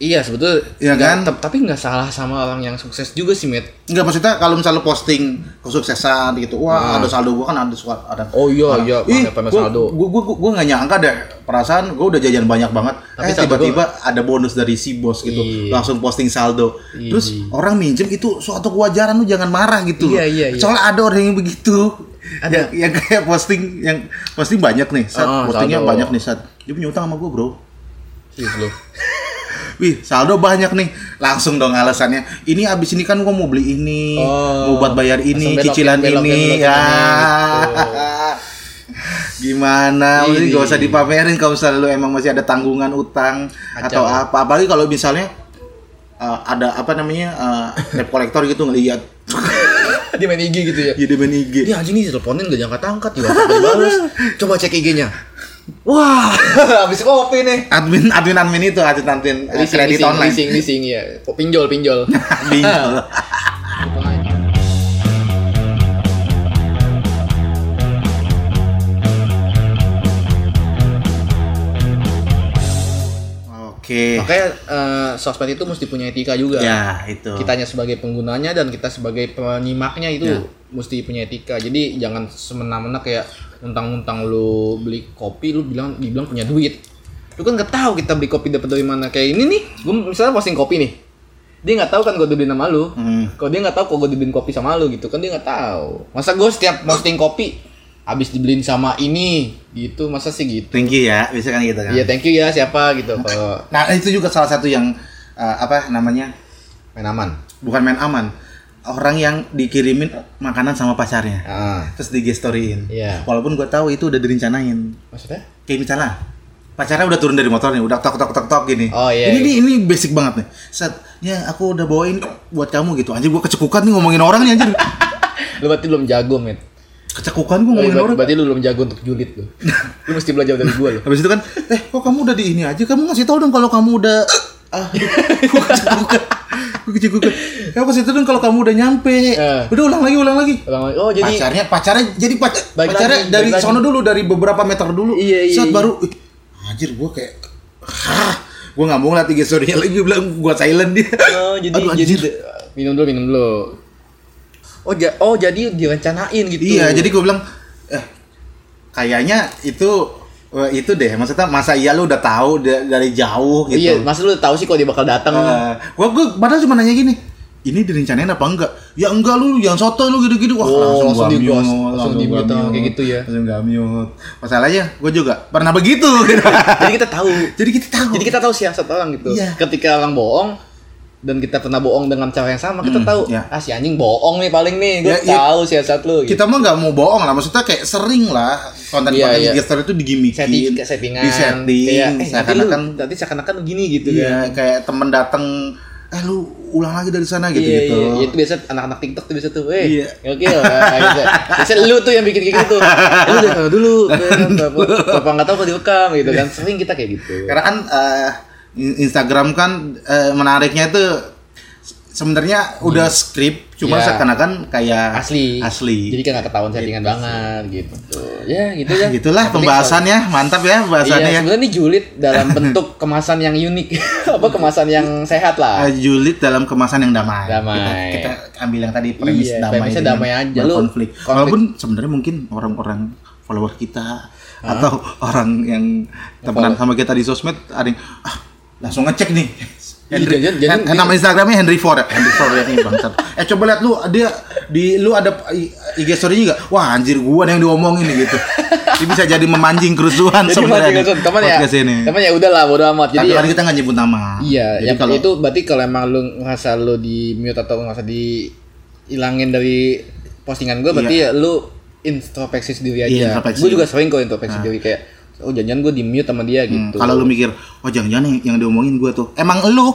A: Iya sebetulnya
B: Iya
A: nggak-
B: kan?
A: tep- tapi nggak salah sama orang yang sukses juga sih, Mit.
B: Enggak maksudnya kalau misalnya lu posting kesuksesan gitu, wah ada saldo gua kan ada suka ada.
A: Hmm. Oh iya iya,
B: Ih,
A: pamer
B: gua,
A: saldo.
B: Gua gua gua, gua nggak nyangka deh perasaan gua udah jajan banyak banget.
A: Tapi
B: eh
A: saldo
B: tiba-tiba ada bonus dari si bos gitu,
A: Iya.
B: langsung posting saldo.
A: Iya.
B: Terus orang minjem itu suatu kewajaran lu jangan marah gitu.
A: Iya, iya, iya.
B: Soalnya ada orang yang begitu.
A: Ada.
B: Yang, yang kayak posting yang posting banyak nih, set,
A: Ah,
B: postingnya
A: saldo.
B: banyak nih set. Dia punya utang sama gua, Bro.
A: Serius lu. *laughs*
B: Wih, saldo banyak nih. Langsung dong alasannya. Ini abis ini kan gua mau beli ini,
A: Oh.
B: mau buat bayar ini,
A: Langsung belokin,
B: cicilan
A: belokin,
B: ini.
A: belokin
B: Ya.
A: ini,
B: *laughs* Gimana? Maksudnya
A: gitu. Ini.
B: gak usah dipamerin kalau misalnya lu emang masih ada tanggungan utang
A: Kacau.
B: atau apa. Apalagi kalau misalnya uh, ada apa namanya uh, debt collector gitu ngelihat
A: Dia main IG gitu ya.
B: jadi main IG.
A: Dia anjing nih teleponin gak diangkat angkat juga nggak balas. Coba cek IG-nya. Wah, *laughs* habis kopi nih.
B: Admin admin admin itu admin admin uh,
A: Leasing,
B: kredit
A: leasing,
B: online.
A: leasing, leasing, ya. Oh, Pinjol, pinjol.
B: *laughs* Bingung. Oke.
A: *laughs* Makanya eh, sosmed itu mesti punya etika juga.
B: Ya, itu.
A: Kitanya sebagai penggunanya dan kita sebagai penyimaknya itu
B: Ya.
A: mesti punya etika. Jadi jangan semena-mena kayak untang-untang lu beli kopi lu bilang dibilang punya duit. Lu kan nggak tahu kita beli kopi dapat dari mana. Kayak ini nih, gue misalnya posting kopi nih. Dia nggak tahu kan gue dibeliin sama lu.
B: Hmm.
A: Kalau dia nggak tahu kok gue dibeliin kopi sama lu gitu kan dia nggak tahu. Masa gue setiap posting kopi habis dibeliin sama ini gitu masa sih gitu.
B: Thank you ya, bisa kan gitu kan.
A: Iya thank you ya siapa gitu kalau
B: Nah, itu juga salah satu yang eh, apa namanya?
A: main aman.
B: Bukan main aman. Orang yang dikirimin makanan sama pacarnya.
A: Ah,
B: Terus digestoriin.
A: Iya.
B: Walaupun gua tahu itu udah direncanain.
A: maksudnya?
B: kayak misalnya pacarnya udah turun dari motor nih udah tok tok tok tok gini
A: Oh, iya,
B: ini nih, ini basic banget nih set ya aku udah bawain buat kamu gitu anjir gua kecekukan nih ngomongin orang nih anjir
A: *laughs* Lu berarti belum jago, Mit.
B: kecekukan gua
A: Lu
B: ngomongin
A: ber-
B: orang
A: Iya, berarti lu belum jago untuk julid lu. *laughs* Lu mesti belajar dari gua lu.
B: habis itu kan eh kok kamu udah di ini aja kamu ngasih tau dong kalau kamu udah ah gua kecekukan gua kecekukan kamu kasih tau dong kalau kamu udah nyampe
A: Eh.
B: udah ulang lagi ulang lagi
A: Orang- Oh, jadi
B: pacarnya pacarnya jadi pacar
A: Balik
B: pacarnya
A: lagi,
B: dari
A: balik lagi.
B: sono dulu dari beberapa meter dulu
A: Iya, iya,
B: set
A: iya.
B: baru ih, anjir gua kayak "Hah, gua nggak mau ngeliat tiga story lagi gua bilang gua silent dia
A: oh, jadi
B: Aduh,
A: jadi
B: anjir.
A: minum dulu, minum dulu. Oh, ja- oh jadi direncanain gitu.
B: iya jadi gua bilang eh kayaknya itu eh, itu deh maksudnya masa iya lu udah tahu da- dari jauh gitu
A: Iya, masa lu tahu sih kalau dia bakal datang.
B: Eh, gua gua padahal cuma nanya gini ini direncanain apa enggak? Ya enggak lu, yang soto lu gitu-gitu. Wah,
A: Oh, langsung
B: gua
A: di ghost,
B: mute,
A: langsung di
B: gua
A: mute, kayak
B: mute,
A: gitu ya.
B: Langsung gak mute. Masalahnya gua juga pernah begitu. *laughs* gitu.
A: jadi kita tahu.
B: Jadi kita tahu.
A: Jadi kita tahu siasat orang gitu.
B: Iya.
A: Ketika orang bohong dan kita pernah bohong dengan cara yang sama, kita tahu
B: iya.
A: ah si anjing bohong nih paling nih. Gua
B: Ya, iya.
A: tahu siasat lu. gitu.
B: kita mah nggak mau bohong lah maksudnya kayak sering lah konten
A: Iya,
B: konten
A: iya.
B: di gestar itu digimikin
A: setting settingan
B: di setting
A: kayak, eh, nanti lu
B: seakan-akan
A: nanti seakan-akan gini gitu kan
B: iya, kayak temen datang eh lu ulang lagi dari sana gitu gitu
A: Iya, iya. itu biasa anak-anak TikTok tuh biasa tuh, eh,
B: Iya.
A: oke gitu." Biasa lu tuh yang bikin kayak gitu. Lu udah tahu dulu, apa nggak tahu kalau direkam gitu kan. Sering kita kayak gitu.
B: karena kan eh, In- Instagram kan eh, menariknya itu se- sebenarnya udah skrip
A: Hmm.
B: cuma
A: Iya.
B: seakan-akan kayak
A: Asli.
B: asli
A: Jadi kan nggak ketahuan settingan banget gitu. Ya gitu ya.
B: gitulah
A: Yang penting
B: pembahasannya mantap ya
A: soal- Iya,
B: pembahasannya ya
A: sebenarnya ini julid dalam
B: *laughs*
A: bentuk kemasan yang unik, *laughs* apa kemasan yang sehat lah.
B: Eh, julid dalam kemasan yang damai.
A: Damai.
B: Kita, kita ambil yang tadi premis
A: Iya,
B: damai.
A: premisnya
B: dengan
A: damai aja. Lu
B: berkonflik.
A: konflik.
B: Walaupun sebenarnya mungkin orang-orang follower kita atau orang yang temenan sama kita di sosmed ada yang ah, langsung ngecek nih Henry,
A: jangan- jangan-
B: Hen- nama Instagramnya Henry Ford ya. Henry Ford yang ini
A: *laughs*
B: bangsat. Eh coba lihat lu dia di lu ada i- IG story-nya enggak? Wah anjir gua yang diomongin nih gitu. Ini bisa jadi memancing kerusuhan
A: Jadi
B: sebenarnya. kan.
A: maksudnya, teman ya,
B: podcast ini.
A: teman ya udahlah bodo amat.
B: Tapi
A: Jadi ya?
B: kan kita nggak nyebut nama.
A: Iya,
B: Jadi
A: yang
B: kalau
A: itu berarti kalau emang lu ngerasa lu di mute atau ngerasa di hilangin dari postingan gua berarti ya lu introspeksi sendiri
B: Iya,
A: aja.
B: introspeksi. Nah.
A: Gue juga sering kok introspeksi diri kayak oh jangan-jangan gue di mute
B: Hmm,
A: sama dia gitu.
B: kalau lu mikir, oh jangan-jangan yang, yang diomongin gua tuh emang lu.